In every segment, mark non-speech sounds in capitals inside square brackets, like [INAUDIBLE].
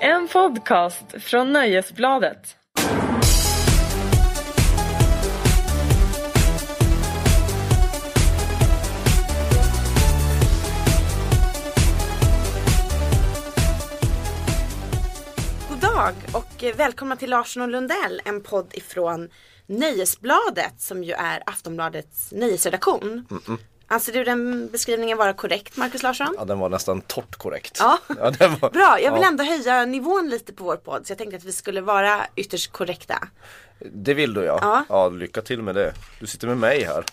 En podcast från Nöjesbladet. God dag och eh, välkomna till Larsson och Lundell, en podd ifrån Nöjesbladet som ju är Aftonbladets nyhetsredaktion. Anser du den beskrivningen vara korrekt, Markus Larsson? Ja, den var nästan torrt korrekt. [LAUGHS] Ja. den var, Bra, jag vill ja, ändå höja nivån lite på vår podd så jag tänkte att vi skulle vara ytterst korrekta. Det vill du ja. Ja. ja. lycka till med det. Du sitter med mig här.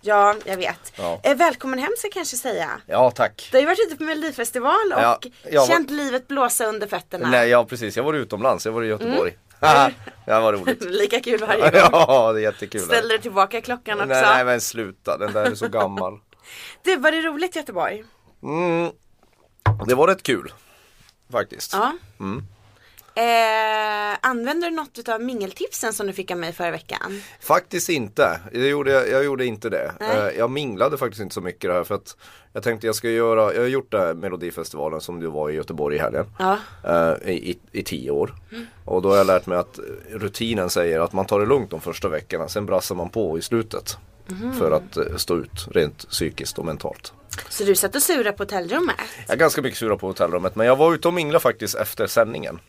Ja, jag vet. Ja. Eh, Välkommen hem ska jag kanske säga. Ja, tack. Du har ju varit ute på Melodifestival och Ja, jag var- känt livet blåsa under fötterna. Nej, ja precis. Jag var utomlands. Jag var i Mm. Göteborg. [LAUGHS] Haha, det var roligt. [LAUGHS] Lika kul varje gång. ja, det är jättekul. Ställde du tillbaka klockan också. nej, nej, men sluta. Den där är [LAUGHS] så gammal. Du, var det roligt i Göteborg? Mm. Det var rätt kul. Faktiskt. Ja. Eh, använder du något av mingeltipsen som du fick av mig förra veckan? Faktiskt inte. Jag gjorde, jag gjorde inte det. Nej. Eh, Jag minglade faktiskt inte så mycket det här för att jag tänkte jag ska göra, jag har gjort den här Melodifestivalen som du var i Göteborg i helgen. Ja. eh, I, i, i tio år. Och då har jag lärt mig att rutinen säger att man tar det lugnt de första veckorna, sen brassar man på i slutet. För att eh, stå ut rent psykiskt och mentalt. Så du satt och sura på hotellrummet? Jag är ganska mycket sura på hotellrummet men jag var ute och minglade faktiskt efter sändningen.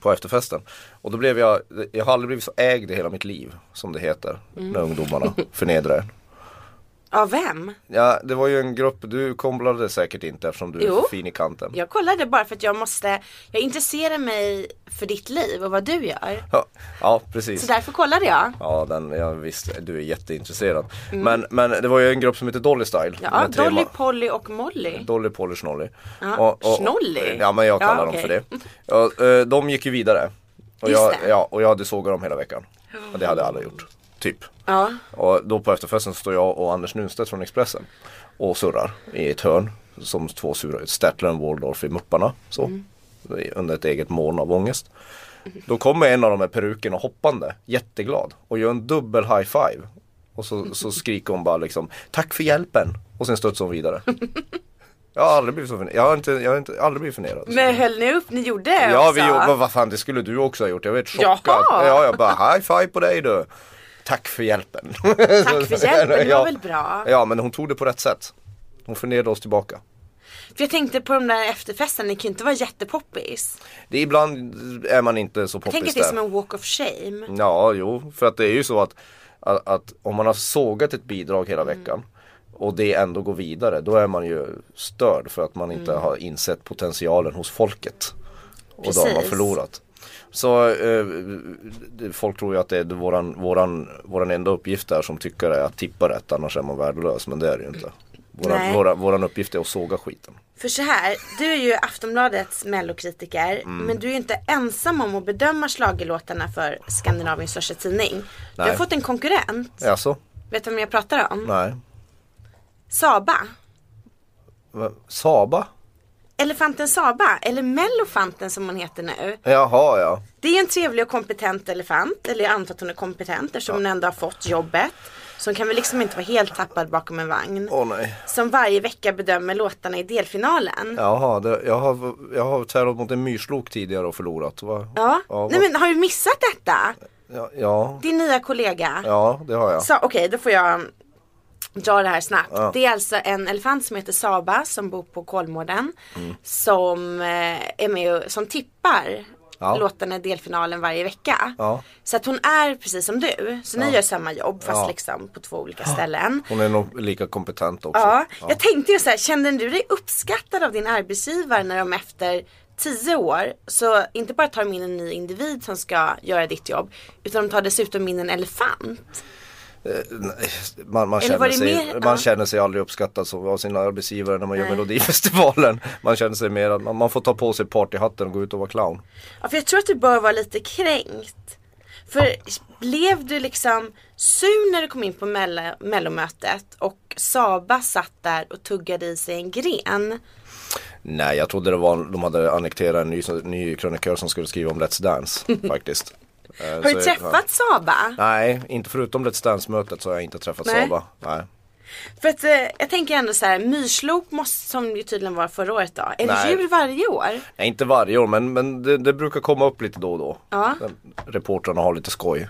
På efterfesten. Och då blev jag, jag har aldrig blivit så ägd i hela mitt liv. Som det heter. När ungdomarna förnedrar en. Av vem? Ja, det var ju en grupp, du komblade säkert inte eftersom du Jo. är fin i kanten. Jag kollade bara för att jag måste, jag intresserar mig för ditt liv och vad du gör. Ja, ja Så precis. därför kollade jag. Ja, den, ja, visst, du är jätteintresserad. Men, men det var ju en grupp som heter Dolly Style. Mm. Ja, med tre Dolly, ma- Polly och Molly. Dolly Polly Snolly. Ja, Snolly? Ja, men jag Ja, kallar dem okej. för det. Ja, eh, de gick ju vidare. Och Just jag, det. ja, och jag hade sågat dem hela veckan. Och det hade alla gjort. Typ. Ja. Och då på efterfesten står jag och Anders Nunstedt från Expressen och surrar i ett hörn som två sura Statler och Waldorf i Mupparna. Så. Under ett eget moln av ångest. Då kommer en av de här perukerna hoppande, jätteglad och gör en dubbel high five. Och så, så skriker hon bara liksom Tack för hjälpen! Och sen studsar hon vidare. Jag har aldrig blivit så förnedrad. Jag har, inte, jag har inte, aldrig blivit förnedrad. Men höll ni upp? Ni gjorde det Ja, också? vi gjorde, vad fan det skulle du också ha gjort. Jag var helt chockad. Jaha. Ja, jag bara high five på dig du. Tack för hjälpen. Tack [LAUGHS] för hjälpen, det var väl bra? Ja, men hon tog det på rätt sätt. Hon förnedrade oss tillbaka. För jag tänkte på de där efterfesten, ni kan ju inte vara jättepoppis. Det, är- ibland är man inte så poppis Tänk att det är som en walk of shame. Ja, jo, för att det är ju så att, att, att om man har sågat ett bidrag hela Mm. veckan och det ändå går vidare, då är man ju störd för att man inte Mm. har insett potentialen hos folket. Och då har man Precis. förlorat. Så eh, folk tror ju att det är våran, våran, våran enda uppgift där som tycker är att tippa rätt annars är man värdelös men det är det ju inte. Nej. Våran, våran, våran uppgift är att såga skiten. För så här, du är ju Aftonbladets mellokritiker Mm. men du är ju inte ensam om att bedöma schlagerlåtarna för Skandinaviens största tidning. Du har Nej. fått en konkurrent. Jaså? Vet du vem jag pratar om? Nej. Saba. Va- Saba? Elefanten Saba, eller Mellofanten som hon heter nu. Jaha ja. Det är en trevlig och kompetent elefant, eller jag antar att hon är kompetent eftersom hon ändå har fått jobbet. Så hon kan väl liksom inte vara helt tappad bakom en vagn. Åh nej. Som varje vecka bedömer låtarna i delfinalen. Jaha, det, jag, har, jag har tävlat mot en myrslok tidigare och förlorat. Va? Ja, Ja, nej vad- men har du missat detta? Ja, ja, Din nya kollega. ja, det har jag. Så okej, då får jag um, dra det här snabbt. Ja. Det är alltså en elefant som heter Saba som bor på Kolmården. Mm. Som eh, är med och, som tippar Ja. låtarna i delfinalen varje vecka. Ja. Så att hon är precis som du. Så ni gör samma jobb fast Ja. liksom på två [GASPS] olika ställen. Hon är nog lika kompetent också. Ja, jag tänkte ju så här, kände du dig uppskattad av din arbetsgivare när de efter tio år, så inte bara tar de in en ny individ som ska göra ditt jobb, utan de tar dessutom in en elefant. Nej, Eh, Man, man, Eller var känner det sig, mer- ja. man känner sig aldrig uppskattad som, av sina arbetsgivare när man gör Nej. Melodifestivalen. Man känner sig mer att man, man får ta på sig partyhatten och gå ut och vara clown. Ja, för jag tror att du bör vara lite kränkt. För blev du liksom sur när du kom in på mello- mellomötet och Saba satt där och tuggade i sig en gren? Nej, jag trodde det var, de hade annekterat en ny, ny krönikör som skulle skriva om [LAUGHS] Let's Dance faktiskt. Eh, Alltså, Har du träffat Saba? Nej, inte förutom Let's Dance-mötet så har jag inte träffat Nej. Saba. Nej. För att eh, jag tänker ändå så här, myrslok måste, som ju tydligen var förra året då. Är det Nej. djur varje år? Nej, inte varje år men, men det, det brukar komma upp lite då och då. Ja. Reportrarna har lite skoj.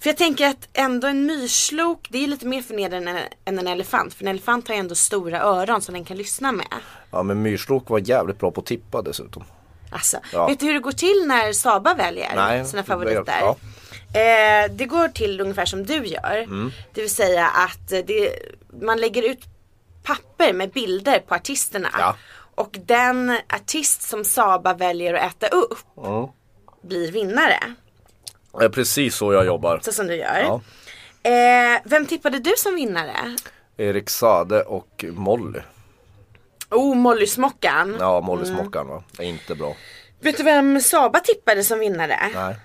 För jag tänker att ändå en myrslok, det är lite mer förnedrande än, än en elefant. För en elefant har ju ändå stora öron som den kan lyssna med. Ja men myrslok var jävligt bra på att tippa dessutom. Alltså, Ja. vet du hur det går till när Saba väljer Nej, sina det- favoriter? ja. Eh, det går till ungefär som du gör. Mm. Det vill säga att eh, det, man lägger ut papper med bilder på artisterna. Ja. Och den artist som Saba väljer att äta upp Mm. blir vinnare. Det är precis så jag jobbar. Så som du gör. Ja. Eh, vem tippade du som vinnare? Erik Sade och Molly. Oh, Mollysmockan. Ja Molly Mm. Smockan va. Det är inte bra. Vet du vem Saba tippade som vinnare? Nej.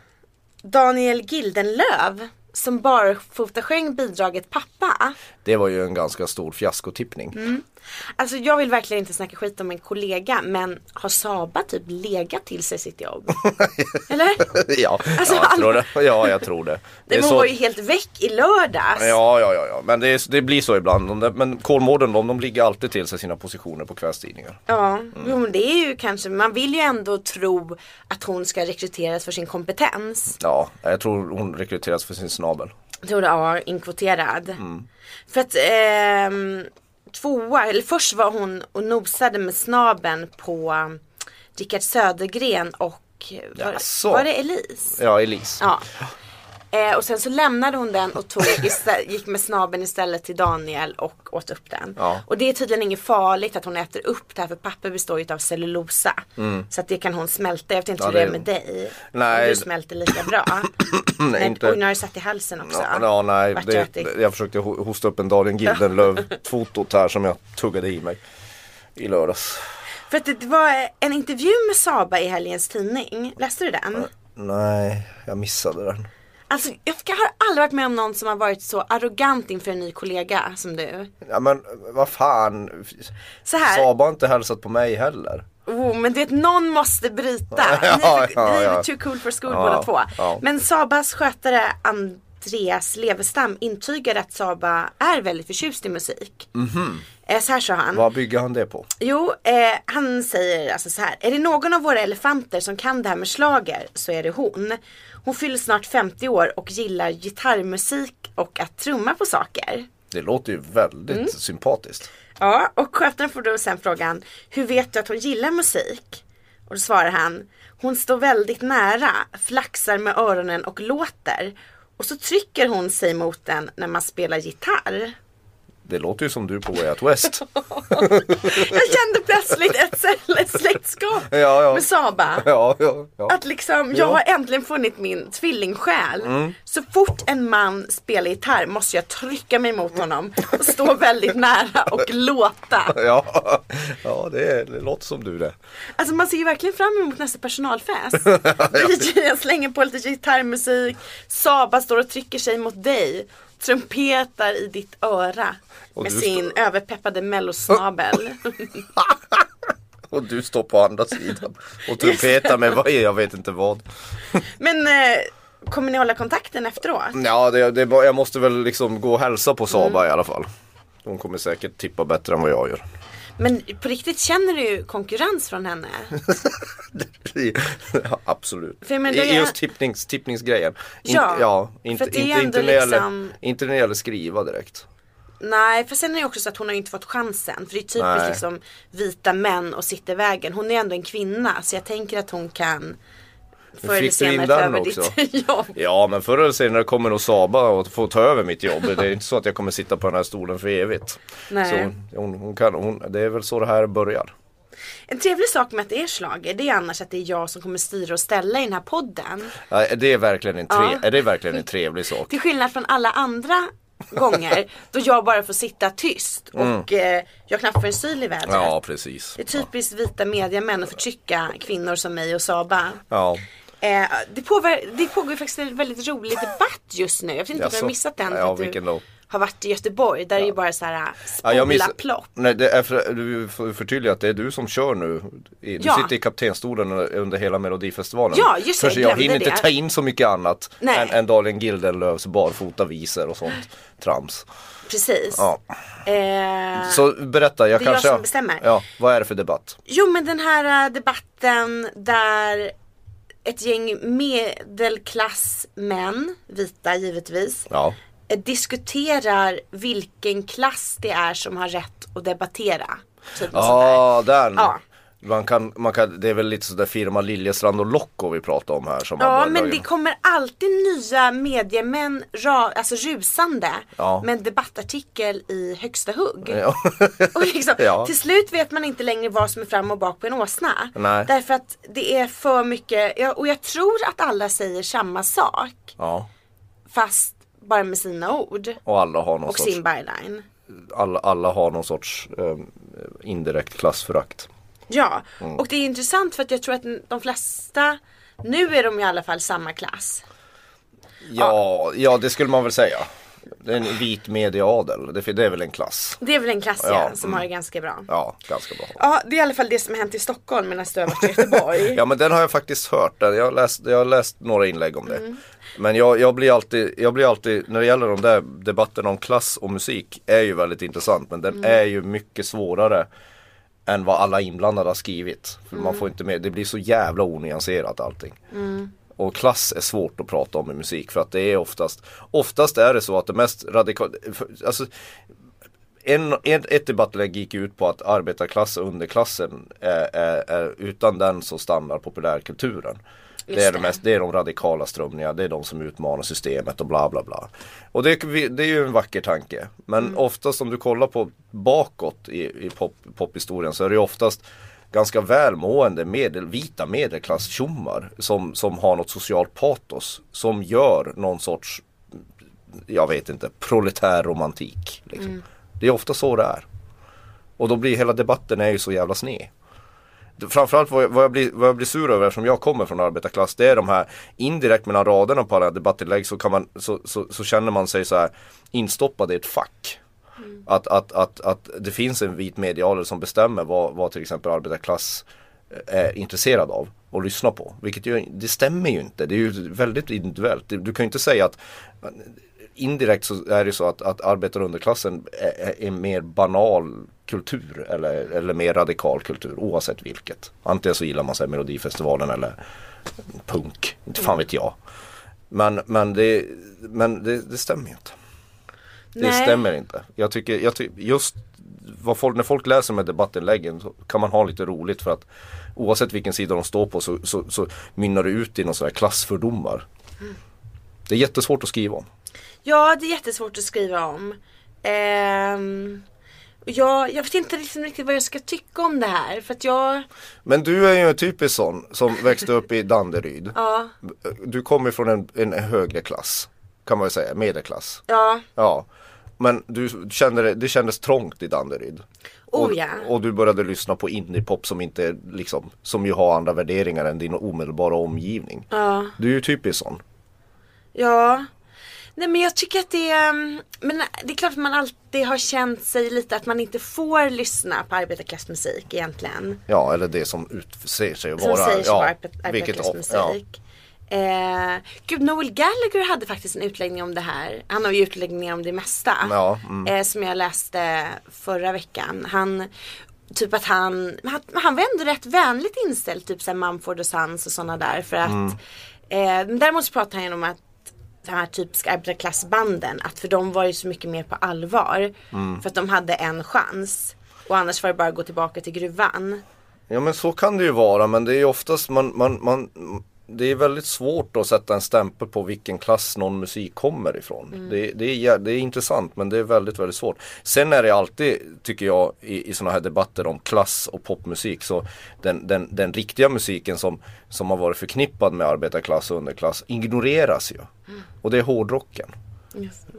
Daniel Gildenlöv. Som barfotasjöng bidraget Pappa. Det var ju en ganska stor fiaskotippning. Alltså jag vill verkligen inte snacka skit om en kollega men har Saba typ legat till sig sitt [LAUGHS] jobb? Eller? [LAUGHS] ja, Alltså, ja, jag tror alla- det. ja, jag tror det. Det Nej, är men hon så- var ju helt väck i lördags. Ja, ja, ja, ja. men det, är, det blir så ibland. De där, men Kolmården de, de ligger alltid till sig sina positioner på kvällstidningar. Ja, jo, men det är ju kanske, man vill ju ändå tro att hon ska rekryteras för sin kompetens. Ja, jag tror hon rekryteras för sin snabel. Tror jag, inkvoterad. Mm. För att ehm, tvåa, eller först var hon och nosade med snaben på Rickard Södergren och var, Jaså? var det Elise? Ja, Elise. Ja. Eh, och sen så lämnade hon den och [LAUGHS] tog istä- gick med snabben istället till Daniel och åt upp den. Ja. Och det är tydligen inget farligt att hon äter upp det här för papper består ju av cellulosa. Så att det kan hon smälta. Jag vet inte Mm. Ja, hur det är det- med dig. Nej. Om du smälter lika [LAUGHS] bra. Nej, Men, Mm, inte- Oj, nu har du satt i halsen också. Ja, ja, nej, Vart det, jag ätit. jag försökte ho- hosta upp en Daniel Gildenlöv-fotot här som jag tuggade i mig i lördags. För att det var en intervju med Saba i helgens tidning. Läste du den? Nej, jag missade den. Alltså jag ska- har aldrig varit med om någon som har varit så arrogant inför en ny kollega som du. Ja men vad fan. Så här. Saba har inte hälsat på mig heller. Oh, men du vet, någon måste bryta. Ni [LAUGHS] Ja, är, för, ja, ni är ja. too cool for school Ja, båda två. ja. Men Sabas skötare Andreas Levestam intygar att Saba är väldigt förtjust i musik. Mhm. Eh, Så här sa han. Vad bygger han det på? Jo, eh, han säger alltså så här. Är det någon av våra elefanter som kan det här med slager så är det hon. Hon fyller snart 50 år och gillar gitarrmusik och att trumma på saker. Det låter ju väldigt Mm. sympatiskt. Ja, och skötaren får då sen frågan Hur vet du att hon gillar musik? Och då svarar han Hon står väldigt nära, flaxar med öronen och låter Och så trycker hon sig mot den när man spelar gitarr Det låter ju som du på Way Out West. [LAUGHS] Jag kände plötsligt ett [LAUGHS] sl- släktskap Ja, ja. med Saba ja, ja, ja. Att liksom, jag Ja. har äntligen funnit min tvillingsjäl. Mm. Så fort en man spelar gitarr måste jag trycka mig mot honom och stå väldigt nära och låta. Ja, ja det, är, det låter som du det. Alltså man ser ju verkligen fram emot nästa [LAUGHS] personalfest. DJn slänger på lite gitarrmusik, Saba står och trycker sig mot dig, trumpetar i ditt öra Och med du sin överpeppade [LAUGHS] mellosnabel. Och du står på andra sidan och trumpetar med vad är jag vet inte vad. Men eh, kommer ni hålla kontakten efteråt? Ja, det, det, är bara- jag måste väl liksom gå och hälsa på Saba Mm. i alla fall. Hon kommer säkert tippa bättre än vad jag gör. [LAUGHS] Men på riktigt känner du ju konkurrens från henne? ja, absolut. För jag menar, I- det är- Just tippnings, tippningsgrejen. Ja, inte, ja, för inte, att det är inte, ändå inte, när det gäller, liksom- inte när det gäller skriva direkt. Nej, för sen är det också så att hon har ju inte fått chansen. För det är typiskt Nej. liksom vita män och sitta i vägen. Hon är ändå en kvinna så jag tänker att hon kan förr eller fick du senare in ta den över också. ditt [LAUGHS] jobb. Ja men förr eller senare kommer nog Saba och få ta över mitt jobb. Det är inte så att jag kommer sitta på den här stolen för evigt. Nej. Så hon, hon, hon kan, hon, det är väl så det här börjar. En trevlig sak med att det är schlager det är annars att det är jag som kommer styra och ställa i den här podden. Nej, Det är verkligen en, tre, Ja. är det är verkligen en trevlig sak. Till skillnad från alla andra [LAUGHS] gånger då jag bara får sitta tyst och eh, jag knappt får en syl i vädret. Mm. Ja precis. Det är typiskt vita mediamän att förtrycka kvinnor som mig och Saba. Ja. Eh, det, påver- det pågår ju faktiskt en väldigt rolig debatt just nu. Jag vet inte om du Jaså? har missat den. för Ja att du vilken då? har varit i Göteborg. Där är ju bara så här äh, spola Ja, jag miss... plopp. Nej, det är för... du får förtydliga att det är du som kör nu. I- Du Ja. sitter i kaptenstolen under hela melodifestivalen. Ja, just det, För jag jag glömde hinner inte det. ta in så mycket annat Nej. än, än Dahlén Gildenlöfs barfotavisor och sånt trams. Precis. Ja. Eh, Så berätta, jag Det är jag kanske... som bestämmer. Ja, vad är det för debatt? Jo men den här eh, debatten där ett gäng medelklassmän, vita givetvis, Ja, eh, diskuterar vilken klass det är som har rätt att debattera. Typ något sånt där. ah, där. Ja. Man kan, man kan, det är väl lite sådär firma Liljestrand och Locko vi pratar om här. Som man Ja bara- men det kommer alltid nya mediemän ra, alltså rusande Ja. med en debattartikel i högsta hugg. Ja. [LAUGHS] Och liksom, Ja. Till slut vet man inte längre vad som är fram och bak på en åsna. Nej. Därför att det är för mycket, ja, och jag tror att alla säger samma sak ja, fast bara med sina ord och alla har någon och sorts, sin byline. alla, alla har någon sorts eh, indirekt klassförakt. Ja, och det är intressant för att jag tror att de flesta, nu är de i alla fall samma klass. Ja, ja det skulle man väl säga. Det är en vit medieadel, det, det är väl en klass. Det är väl en klass ja, Ja, som har det ganska bra. Ja. Ja, ganska bra. det är i alla fall det som har hänt i Stockholm medan du har [LAUGHS] varit i Göteborg. Ja men den har jag faktiskt hört, jag har läst, jag har läst några inlägg om det. Men jag, jag, blir alltid, jag blir alltid, när det gäller de där debatterna om klass och musik är ju väldigt intressant men den är ju mycket svårare än vad alla inblandade har skrivit. För man får inte med, det blir så jävla onyanserat allting. Och klass är svårt att prata om i musik för att det är oftast, oftast är det så att det mest radikala, alltså en, en, ett debattlägg gick ut på att arbetarklass och underklassen är, är, är, utan den så stannar populärkulturen. Det är, Just de det. mest, det är de radikala strömningarna, det är de som utmanar systemet och bla bla bla. Och det, det är ju en vacker tanke. Men Mm. oftast om du kollar på bakåt i, i pop, pophistorien så är det ju oftast ganska välmående medel, vita medelklasstjommar som, som har något socialt patos. Som gör någon sorts jag vet inte, proletär romantik. Liksom. Det är ofta så det är. Och då blir hela debatten är ju så jävla sned. Framförallt vad jag, vad, jag blir, vad jag blir sur över eftersom jag kommer från arbetarklass det är de här indirekt mellan raderna på alla debattinlägg så, kan man, så, så, så känner man sig så här instoppad i ett fack. Att, att, att, att det finns en vit medialer som bestämmer vad, vad till exempel arbetarklass eh, är intresserad av och lyssnar på. Vilket ju, det stämmer ju inte. Det är ju väldigt individuellt. Du du kan ju inte säga att indirekt så är det ju så att, att arbetar och underklassen är, är- är mer banal kultur eller, eller mer radikal kultur oavsett vilket. Antingen så gillar man sig Melodifestivalen eller punk, inte fan vet jag. Men, men, det, men det, det stämmer ju inte. Det Nej. stämmer inte. Jag tycker, jag tycker just vad folk, när folk läser med debattinläggen så kan man ha lite roligt för att oavsett vilken sida de står på så, så, så mynnar det ut i någon sån här klassfördomar. Det är jättesvårt att skriva om. Ja, det är jättesvårt att skriva om. Ehm, jag, jag vet inte liksom riktigt vad jag ska tycka om det här. För att jag, Men du är ju en typisk sån som växte upp i Danderyd. ja, Du kommer från en, en högre klass. Kan man väl säga, medelklass. ja, Ja. Men du kände det, det kändes trångt i Danderyd. oh och, ja. och du började lyssna på indiepop som inte är liksom, som ju har andra värderingar än din omedelbara omgivning. Ja, Du är ju typisk sån. ja. Nej men jag tycker att det är, mm, men det är klart att man alltid har känt sig lite att man inte får lyssna på arbetarklassmusik egentligen. Ja, eller det som utser sig att Som vara. säger sig ja, vara arbet- vilket- ja. arbetarklassmusik. Eh, gud, Noel Gallagher hade faktiskt en utläggning om det här. Han har ju utläggningar om det mesta. Ja, mm. eh, som jag läste förra veckan. Han, typ att han, han, han var ändå rätt vänligt inställd. Typ såhär Mumford och Sons och sådana där. För att, eh, Mm. men däremot så pratade han ju om att de här typiska arbetarklassbanden, att för dem var det så mycket mer på allvar. Mm. För att de hade en chans. Och annars var det bara att gå tillbaka till gruvan. Ja men så kan det ju vara men det är ju oftast man, man, man Det är väldigt svårt att sätta en stämpel på vilken klass någon musik kommer ifrån. Det, det, är, jä- det är intressant men det är väldigt väldigt svårt. Sen är det alltid tycker jag i, i sådana här debatter om klass och popmusik så den, den, den riktiga musiken som, som har varit förknippad med arbetarklass och underklass ignoreras ju. Och det är hårdrocken.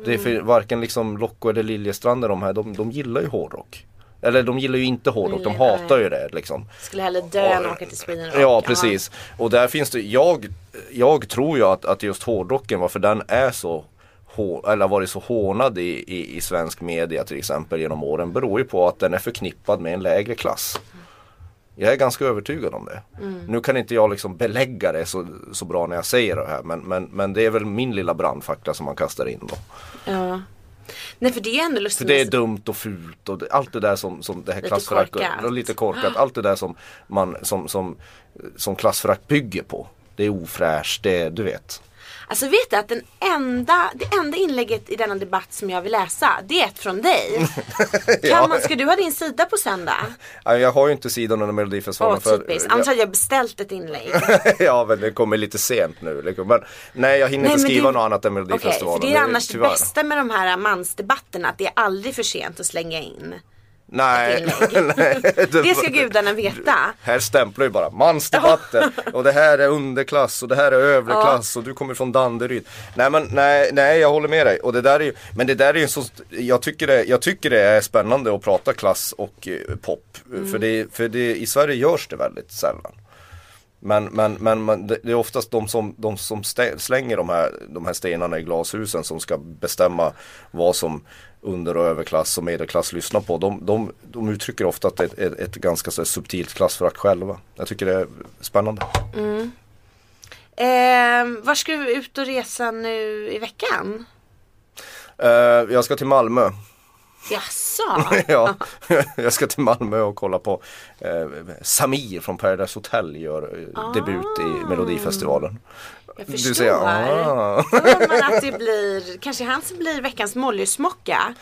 Det är för varken liksom Locko eller Liljestrand är de här, de, de gillar ju hårdrock. Eller de gillar ju inte hårdrock, de Nej, nej. hatar ju det liksom. Skulle hellre dö än åka till Sweden Rock. Ja precis. Och där finns det, jag, jag tror ju att, att just hårdrocken, varför den är så hå- eller varit så hånad i, i, i svensk media till exempel genom åren beror ju på att den är förknippad med en lägre klass. Jag är ganska övertygad om det. Mm. Nu kan inte jag liksom belägga det så, så bra när jag säger det här men, men, men det är väl min lilla brandfackla som man kastar in då. Ja. Nej för det är ju ändå lustigt. För det är med- dumt och fult och det, allt det där som, som det här Lite klassförakt korkat. och lite korkat. Allt det där som, man, som, som, som klassförakt bygger på. Det är ofräscht, det är, du vet. Alltså vet du att den enda, det enda inlägget i denna debatt som jag vill läsa, det är ett från dig. [LAUGHS] kan man, ska du ha din sida på söndag? Nej, Jag har ju inte sidan under Åh Melodifestivalen typiskt, annars hade jag beställt ett inlägg. [LAUGHS] ja men det kommer lite sent nu. liksom. Men, nej jag hinner Nej, inte men skriva det- något annat än Okej, Melodifestivalen. för det är annars tyvärr. det bästa med de här mansdebatterna, att det är aldrig för sent att slänga in. Nej. [LAUGHS] nej Det ska gudarna veta. Här stämplar ju bara mansdebatter och det här är underklass och [LAUGHS] det här är övre klass och du kommer från Danderyd. Nej men nej, nej jag håller med dig och det där är ju, men det där är ju så, jag tycker det, jag tycker det är spännande att prata klass och eh, pop. För, det, för det, i Sverige görs det väldigt sällan. Men, men, men, men det det är oftast de som, de som stä- slänger de här, de här stenarna i glashusen som ska bestämma vad som under och överklass och medelklass lyssnar på. De, de, de uttrycker ofta att det är ett, ett ganska så här subtilt klassförakt själva. Jag tycker det är spännande. Ehm, var ska du ut och resa nu i veckan? Eh, jag ska till Malmö. Jaså? [LAUGHS] ja, jag ska till Malmö och kolla på eh, Samir från Paradise Hotel gör eh, debut i Melodifestivalen. Ah. Jag Du förstår. säger, "Ah." Då undrar man att det blir, kanske han som blir veckans mollysmocka.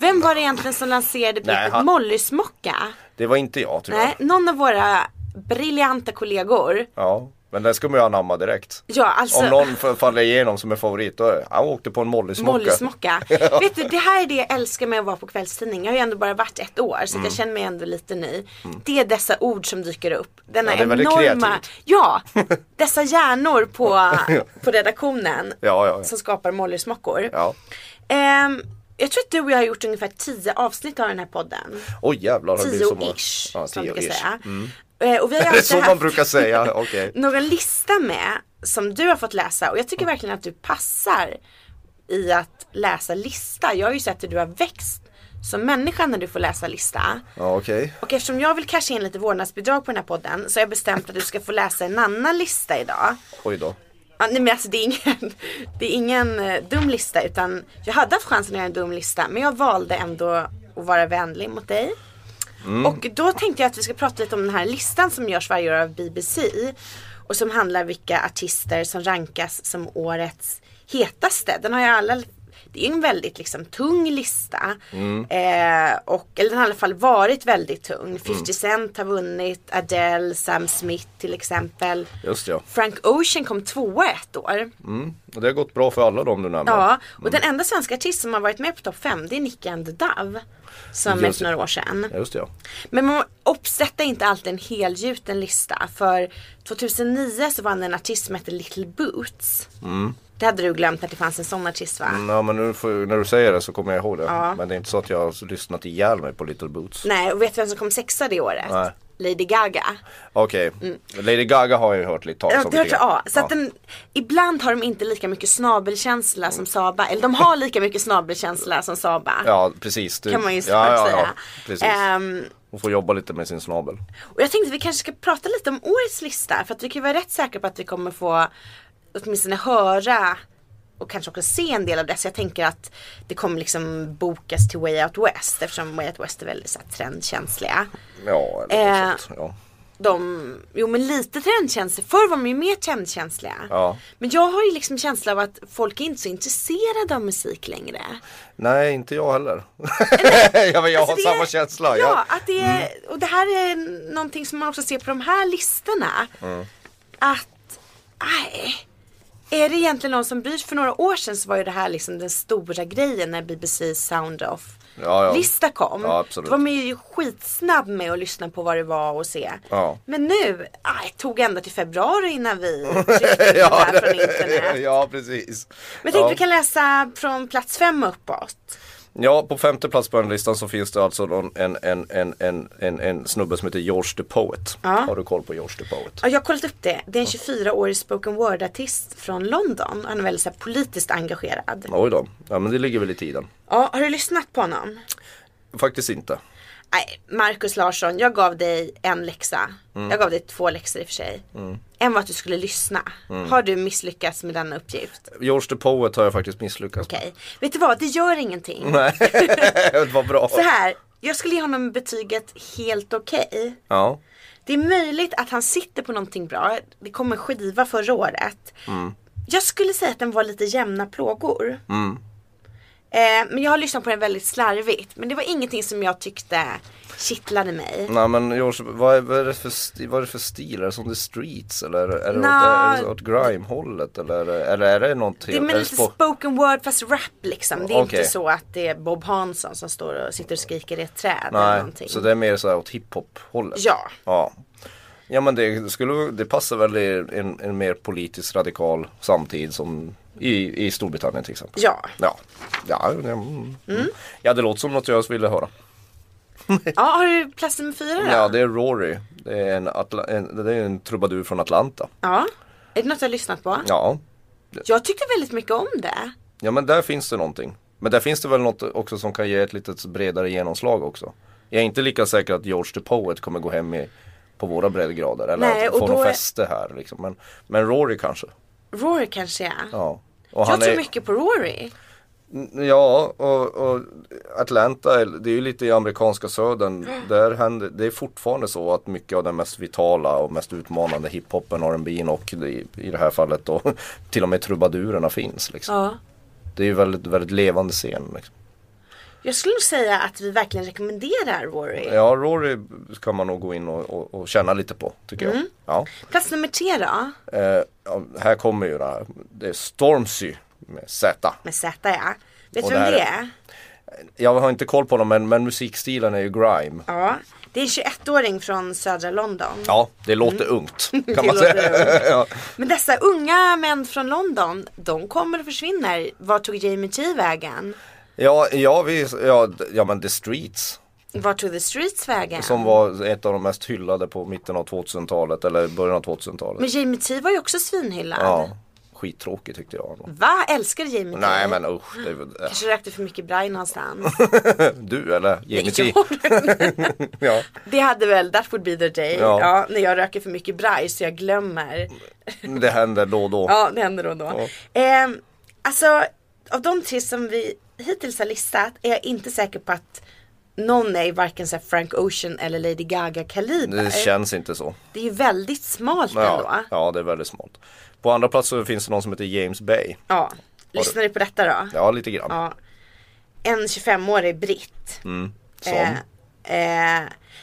Vem var det egentligen som lanserade Nej, begreppet han- mollysmocka? Det var inte jag tyvärr. Nej, någon av våra briljanta kollegor. Ja, men den ska man ju anamma direkt. Ja, alltså. Om någon f- faller igenom som är favorit, då är- han åkte på en mollysmocka. [LAUGHS] Mollysmocka. Vet du, det här är det jag älskar med att vara på kvällstidning. Jag har ju ändå bara varit ett år så att Mm. jag känner mig ändå lite ny. Det är dessa ord som dyker upp. Denna Ja, det är väldigt enorma, kreativt. [LAUGHS] ja, dessa hjärnor på, på redaktionen Ja, ja, ja. som skapar mollysmockor. Ja. Ehm, jag tror att du och jag har gjort ungefär tio avsnitt av den här podden. Oj jävlar, har det blivit så många. Tio-ish Ja, som man brukar tio-ish. säga. Eh, Och vi har ju [LAUGHS] Det är alltid så man haft brukar säga, okej. [LAUGHS] någon lista med som du har fått läsa och jag Mm. tycker verkligen att du passar i att läsa lista. Jag har ju sett hur du har växt som människa när du får läsa lista. Ja, okej. Och eftersom jag vill casha in lite vårdnadsbidrag på den här podden så har jag bestämt att du ska få läsa en annan lista idag. Oj då. Ja, nej men alltså det är ingen, [LAUGHS] det är ingen eh, dum lista utan jag hade haft chansen att göra en dum lista men jag valde ändå att vara vänlig mot dig. Och då tänkte jag att vi ska prata lite om den här listan som görs varje år av BBC. Och som handlar vilka artister som rankas som årets hetaste. Den har ju alla, det är ju en väldigt liksom tung lista. Eh, och, eller den har i alla fall varit väldigt tung. 50 Cent har vunnit, Adele, Sam Smith till exempel. Just ja. Frank Ocean kom tvåa ett år. Mm. Och det har gått bra för alla de du nämner. Ja, och den enda svenska artist som har varit med på topp 5 det är Nicky and the Dove. Som är Just för det. några år sedan. Just ja. Men man uppsätter inte alltid en helgjuten lista. För 2009 så vann en artist som hette Little Boots. Mm. Det hade du glömt att det fanns en sån artist va? Ja men nu får, när du säger det så kommer jag ihåg det. Men det är inte så att jag har lyssnat ihjäl mig på Little Boots. Nej, och vet du vem som kom sexa det året? Nej. Lady Gaga. Okej, Lady Gaga har jag ju hört lite talas Ja, om. det hör lite till grann. A. Så att den, ibland har de inte lika mycket snabelkänsla som Saba. Eller de har lika mycket snabelkänsla som Saba. ja precis. Du- Kan man ju ja, ja, säga. ja, precis. Ehm, Hon får jobba lite med sin snabel. Och jag tänkte att vi kanske ska prata lite om årets lista för att vi kan ju vara rätt säkra på att vi kommer få åtminstone höra och kanske också se en del av det. Så jag tänker att det kommer liksom bokas till Way Out West eftersom Way Out West är väldigt så här, trendkänsliga. Ja, eller Eh. något sånt. Ja. De, jo men lite trendkänsliga, förr var de ju mer trendkänsliga. Ja. Men jag har ju liksom känsla av att folk är inte så intresserade av musik längre. Nej, inte jag heller. [LAUGHS] ja, men jag har Alltså, det är- samma Ja, känsla. Jag, Mm. att det är, och det här är någonting som man också ser på de här listorna. Mm. Att, nej. Är det egentligen någon som bryr sig? För några år sedan så var ju det här liksom den stora grejen när BBC Sound Ja, ja. Off-lista kom. Ja, absolut. Då var man ju skitsnabb med att lyssna på vad det var och se. Ja. Men nu, aj, tog ända till februari innan [LAUGHS] vi tryckte ja, ja, [LAUGHS] där från internet. ja, precis. Men tänk ja. vi kan läsa från plats fem uppåt. Ja, på femte plats på den listan så finns det alltså någon, en, en, en, en, en, en snubbe som heter George the Poet. Ja. Har du koll på George the Poet? Ja, jag har kollat upp det. Det är en 24-årig spoken word-artist från London. Han är väldigt så här, politiskt engagerad. Oj då, ja men det ligger väl i tiden. Ja, har du lyssnat på honom? Faktiskt inte. Nej, Markus Larsson, jag gav dig en läxa. Jag gav dig två läxor i och för sig. En var att du skulle lyssna. Har du misslyckats med denna uppgift? George the Poet har jag faktiskt misslyckats med. Okej. Vet du vad, det gör ingenting. [LAUGHS] det var bra. Så här, jag skulle ge honom betyget helt okej. Ja. Det är möjligt att han sitter på någonting bra. Det kom en skiva förra året. Mm. Jag skulle säga att den var lite jämna plågor. Mm. Eh, men jag har lyssnat på den väldigt slarvigt. Men det var ingenting som jag tyckte kittlade mig. Nej men George, vad är, vad är, det, för stil, vad är det för stil? Är det som The Streets eller är det, är det, åt, Nå. är det åt grime-hållet? Eller, är det- eller är det något Det är helt- med är lite spo- spoken word fast rap liksom. Det är Okej. inte så att det är Bob Hansson som står och sitter och skriker i ett träd eller någonting. Nej, så det är mer så här åt hiphop-hållet? Ja. ja. Ja men det, skulle, det passar väl i en, en mer politiskt radikal samtid som i, i Storbritannien till exempel? Ja. Ja, ja, det- mm. ja det låter som något jag ville höra. ja, har du plats nummer fyra då? Ja det är Rory, det är en, Atla- en, det är en trubadur från Atlanta. Ja. Är det något jag har lyssnat på? Ja, Jag tyckte väldigt mycket om det. Ja men där finns det någonting. Men där finns det väl något också som kan ge ett lite bredare genomslag också. Jag är inte lika säker att George the Poet kommer gå hem i, på våra breddgrader. Eller Nej, att och få då något är- fäste här liksom. men, men Rory kanske. Rory kanske är. Ja. Och Jag tror är- mycket på Rory. Ja, och, och Atlanta, är- det är ju lite i amerikanska södern. Där händer, det är fortfarande så att mycket av den mest vitala och mest utmanande hiphopen, R&B'n och i, i det här fallet då [LAUGHS] till och med trubadurerna finns. Liksom. Ja. Det är ju väldigt, väldigt levande scen. Liksom. Jag skulle nog säga att vi verkligen rekommenderar Rory. Ja, Rory kan man nog gå in och, och, och känna lite på tycker Mm. jag. Ja. Plats nummer tre då. Eh, ja, här kommer ju det här. Det är Stormzy med Z. Med Z ja. Vet du Och vem det här- det är? Jag har inte koll på dem men, men musikstilen är ju grime. Ja. Det är en 21-åring från södra London. Ja, det låter [LAUGHS] ungt Mm. Det kan man låter säga. [LAUGHS] ja. Men dessa unga män från London, de kommer och försvinner. Var tog Jamie T vägen? Ja, ja, vi, ja, d- ja, men The Streets Var tog The Streets vägen? som var ett av de mest hyllade på mitten av 2000-talet eller början av 2000-talet. Men Jamie T var ju också svinhyllad. Ja, skittråkig tyckte jag. Va? Älskar du Jamie T? Nej men usch, det, är- Kanske rökte för mycket braj någonstans. du eller [LAUGHS] Jamie T. Ja. [LAUGHS] Det hade väl, that would be the day. Ja. Ja. när jag röker för mycket braj så jag glömmer. Det händer då och då. Ja, det händer då och då. Ehm, alltså, av de tre som vi hittills har listat är jag inte säker på att någon är varken så här Frank Ocean eller Lady Gaga kaliber. Det känns inte så. Det är ju väldigt smalt Ja, ändå. Ja. ja, det är väldigt smalt. På andra plats så finns det någon som heter James Bay. Lyssnar du på detta då? Ja, lite grann. Ja. En 25-årig britt. Mm, Som. Eh, eh,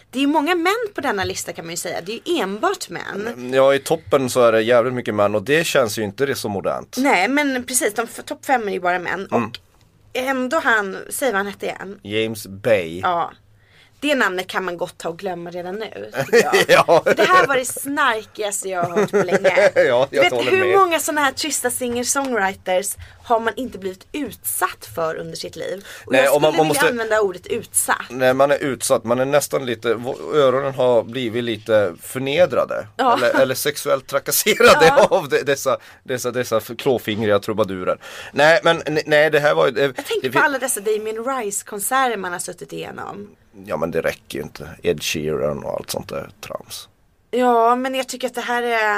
det är ju många män på denna lista kan man ju säga. Det är ju enbart män. Ja, i toppen så är det jävligt mycket män och det känns ju inte det så modernt. Nej men precis, de f- topp fem är ju bara män Mm. och ändå han, säg vad han hette igen. James Bay. Ja. Det namnet kan man gott ta och glömma redan nu. tycker jag. [LAUGHS] Ja. För det här var det snarkigaste jag har hört på länge. [LAUGHS] Ja, jag du vet håller hur med. många sådana här trista singer-songwriters har man inte blivit utsatt för under sitt liv? Och Nej, jag skulle och man- man vilja måste- använda ordet utsatt. När man är utsatt, man är nästan lite, vå- öronen har blivit lite förnedrade. Ja. [LAUGHS] Eller, eller sexuellt trakasserade av de, dessa, dessa, dessa klåfingriga trubadurer. Nej, men ne- nej det här var ju... det- Jag tänker det på fin- alla dessa Damien Rice-konserter man har suttit igenom. Ja men det räcker ju inte. Ed Sheeran och allt sånt där trams. Ja, men jag tycker att det här är,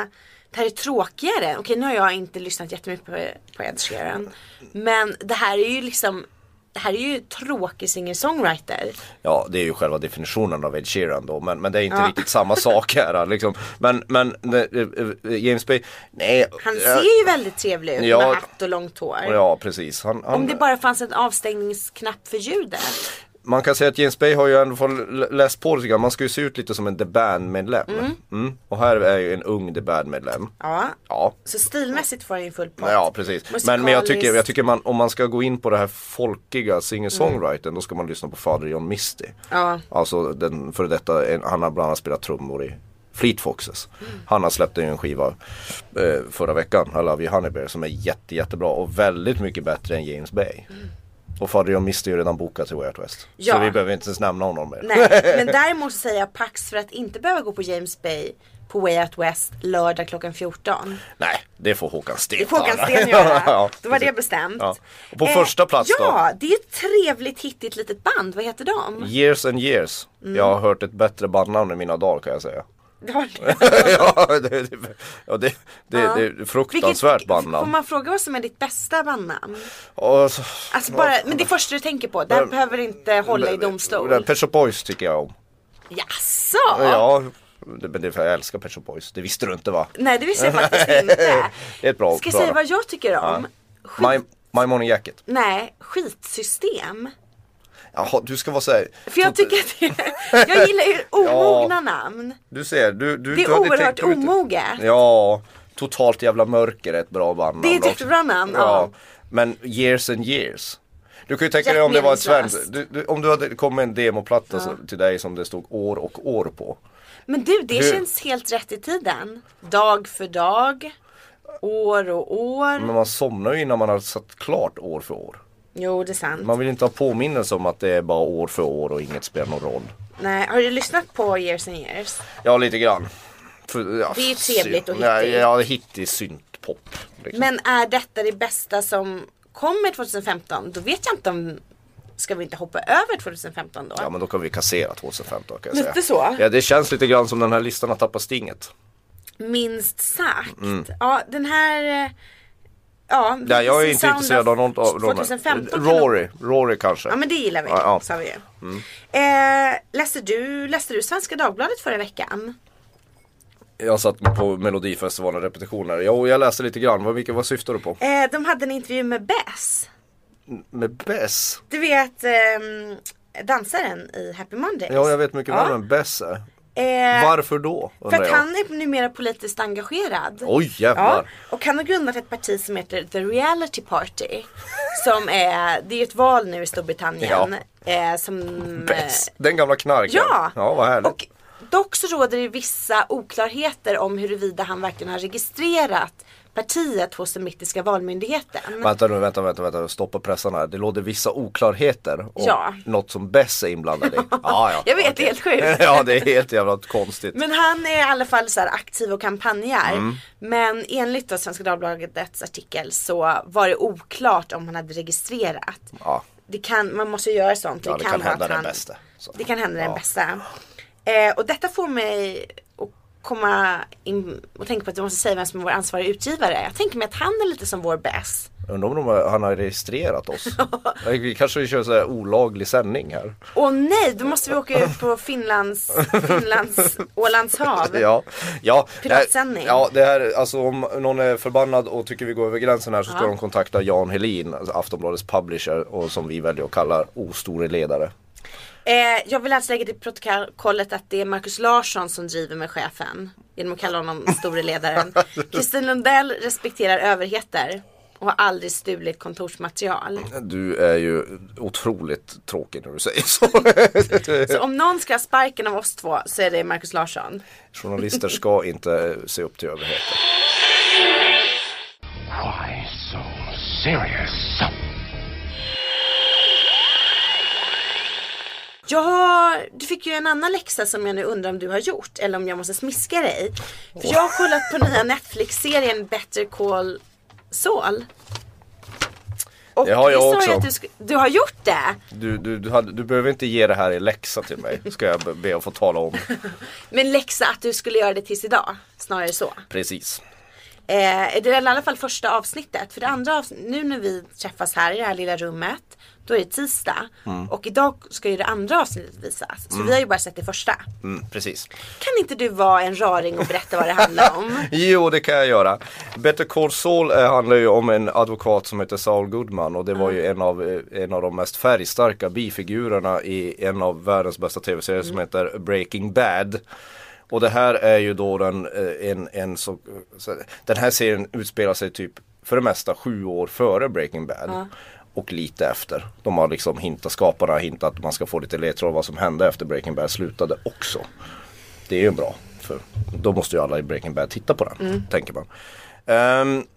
det här är tråkigare. Okej, nu har jag inte lyssnat jättemycket på, på Ed Sheeran. Men det här är ju liksom, det här är ju tråkig singer-songwriter. Ja, det är ju själva definitionen av Ed Sheeran då, men, men det är inte Ja. riktigt samma sak här. [LAUGHS] Liksom. Men, men det- eh, eh, James Bay, nej. Han eh, ser ju väldigt trevlig ut Ja. med hatt och långt hår. Ja, precis. Han, han, Om det bara fanns en avstängningsknapp för ljudet. Man kan säga att James Bay har ju ändå fått l- läst på lite grann. Man ska ju se ut lite som en The Band-medlem. Mm. Och här är ju en ung The Band-medlem. Ja. Ja. Så stilmässigt får han ju full pott. Ja precis. Men, men jag tycker, jag Musikaliskt. tycker man, om man ska gå in på det här folkiga singer-songwritern då ska man lyssna på Fader John Misty. Ja. Alltså den före detta, en- han har bland annat spelat trummor i Fleet Foxes. Han har släppt en skiva eh, förra veckan, I Love You Honey Bear, som är jätte, jättebra och väldigt mycket bättre än James Bay. Och Fader jag Mist är ju redan bokad till Way Out West. Mm. Ja. Så vi behöver inte ens nämna honom mer. Nej, [LAUGHS] men däremot så säger jag pax för att inte behöva gå på James Bay på Way Out West lördag klockan 14. Nej, det får Håkan Sten Det får Håkan göra. Sten göra. [LAUGHS] Ja, Då var precis. det bestämt. Eh, Ja. Och på första plats då? Ja, det är ett trevligt hittigt litet band. Vad heter de? Years and years. Jag Mm. har hört ett bättre bandnamn i mina dagar kan jag säga. Det [LAUGHS] var det. ja, det, det, ja, det, det, det är ett fruktansvärt Vilket- Får bandnamn. man fråga vad som är ditt bästa bandnamn? Och så- Alltså bara, men det första du tänker på. Det här behöver inte hålla i Det- domstol. Pet Shop Boys tycker jag om. Jaså? Ja, det- men det är för jag älskar Pet Shop Boys. Det visste du inte va? Nej, det visste jag [LAUGHS] faktiskt inte. Det är ett bra Ska jag bra- säga vad jag tycker om? Skit, My, my Morning Jacket. Nej, skitsystem. Jaha, du ska vara såhär. För jag tycker att det, jag gillar [LAUGHS] ju omogna namn. Du ser, du, du, Det är du hade oerhört tänkt ut- omoget. Ja, Totalt jävla mörker är ett bra bandnamn Det är ett också. jättebra namn, ja. Ja. Men Years and Years. Du kan ju tänka dig om det var ett svenskt, Jättemeningslöst. du, du, om du hade kommit en demoplatta så, till dig som det stod år och år på. Men du, det Du- känns helt rätt i tiden. Dag för dag, år och år. Men man somnar ju innan man har satt klart år för år. Jo, det är sant. Man vill inte ha påminnelse om att det är bara år för år och inget spelar någon roll. Nej, har du lyssnat på Years and Years? Ja, lite grann. För, ja, Det är ju trevligt och synt- Ja, hittigt. ja, hittig syntpop. Liksom. Men är detta det bästa som kommer 2015? Då vet jag inte om... Ska vi inte hoppa över 2015 då? Ja men då kan vi kassera 2015 kan jag säga. Lite så. Ja det känns lite grann som den här listan har tappat stinget. Minst sagt. Ja, den här... eh, Ja, Mm. Nej jag är Sound inte intresserad av någon av av de här. 2015 kan nog- Rory, Rory kanske. Ja men det gillar vi, Ja, ja. Mm. sa vi ju. Eh, läste, du, läste du Svenska Dagbladet förra veckan? Jag satt på melodifestivalen repetitioner. Jo jag läste lite grann, vad, vilka, vad syftar du på? Eh, de hade en intervju med Bess. Med Bess? Du vet ehm, dansaren i Happy Mondays. Ja jag vet mycket Ja. väl vem Bess är. Eh, Varför då? För Undrar att jag. han är numera politiskt engagerad. Oj Ja, jävlar. och han har grundat ett parti som heter The Reality Party. Som är, det är ju ett val nu i Storbritannien. Eh, som, eh, Bess, den gamla knarken. Ja. ja vad härligt. Och dock så råder det vissa oklarheter om huruvida han verkligen har registrerat partiet hos den brittiska valmyndigheten. Vänta nu, vänta, vänta, vänta, stoppa pressarna här. Det låter vissa oklarheter om Ja. något som Bess är inblandad i. Ja, ja. [LAUGHS] Jag vet, det okej. är helt sjukt. [LAUGHS] ja, det är helt jävla konstigt. Men han är i alla fall så här aktiv och kampanjar. Mm. Men enligt då Svenska Dagbladets artikel så var det oklart om han hade registrerat. Ja, Det kan, man måste ju göra sånt. ja, det kan vara hända att den han- bästa. Så. Det kan hända den Ja. bästa. Eh, och detta får mig att komma in och tänka på att vi måste säga vem som är vår ansvariga utgivare. Jag tänker mig att han är lite som vår bäst. Undrar om de har, han har [LAUGHS] registrerat oss. vi kanske kör så här olaglig sändning här. Åh nej, då måste vi åka ut [LAUGHS] på Finlands, Finlands, Ålands hav. Ja, ja. Piratsändning. Nej, Ja, det här, alltså om någon är förbannad och tycker vi går över gränsen här så ska Ja. de kontakta Jan Helin, alltså Aftonbladets publisher och som vi väljer att kalla ostore ledare. Eh, jag vill alltså lägga till protokollet att det är Markus Larsson som driver med chefen. Genom att kalla honom store [LAUGHS] ledaren. Kristin Lundell respekterar överheter. Och har aldrig stulit kontorsmaterial. Du är ju otroligt tråkig när du säger så. Så om någon ska ha sparken av oss två så är det Markus Larsson. Journalister ska inte se upp till överheten. Why so serious? Jag har, du fick ju en annan läxa som jag nu undrar om du har gjort eller om jag måste smiska dig. För jag har kollat på nya Netflix-serien Better Call Saul. Och Det har jag sa ju också. Att du, sk- du har gjort det! Du, du, du, hade, du behöver inte ge det här i läxa till mig, ska jag be- be att få tala om. Men läxa att du skulle göra det tills idag. Snarare så. Precis. Eh, det är i alla fall första avsnittet. För det andra avsnittet, nu när vi träffas här i det här lilla rummet. Då är det tisdag. Mm. Och idag ska ju det andra avsnittet visas. Så vi har ju bara sett det första. Mm, precis. Kan inte du vara en raring och berätta vad det handlar om? [LAUGHS] Jo, det kan jag göra. Better Call Saul eh, handlar ju om en advokat som heter Saul Goodman och det var ju en av, eh, en av de mest färgstarka bifigurerna i en av världens bästa tv-serier som heter Breaking Bad. Och det här är ju då den, eh, en, en så, så, den här serien utspelar sig typ för det mesta sju år före Breaking Bad. Och lite efter. De har liksom hintat, skaparna har hintat att man ska få lite ledtråd vad som hände efter Breaking Bad slutade också. Det Mm. är ju bra. För då måste ju alla i Breaking Bad titta på den, tänker man. Ehm,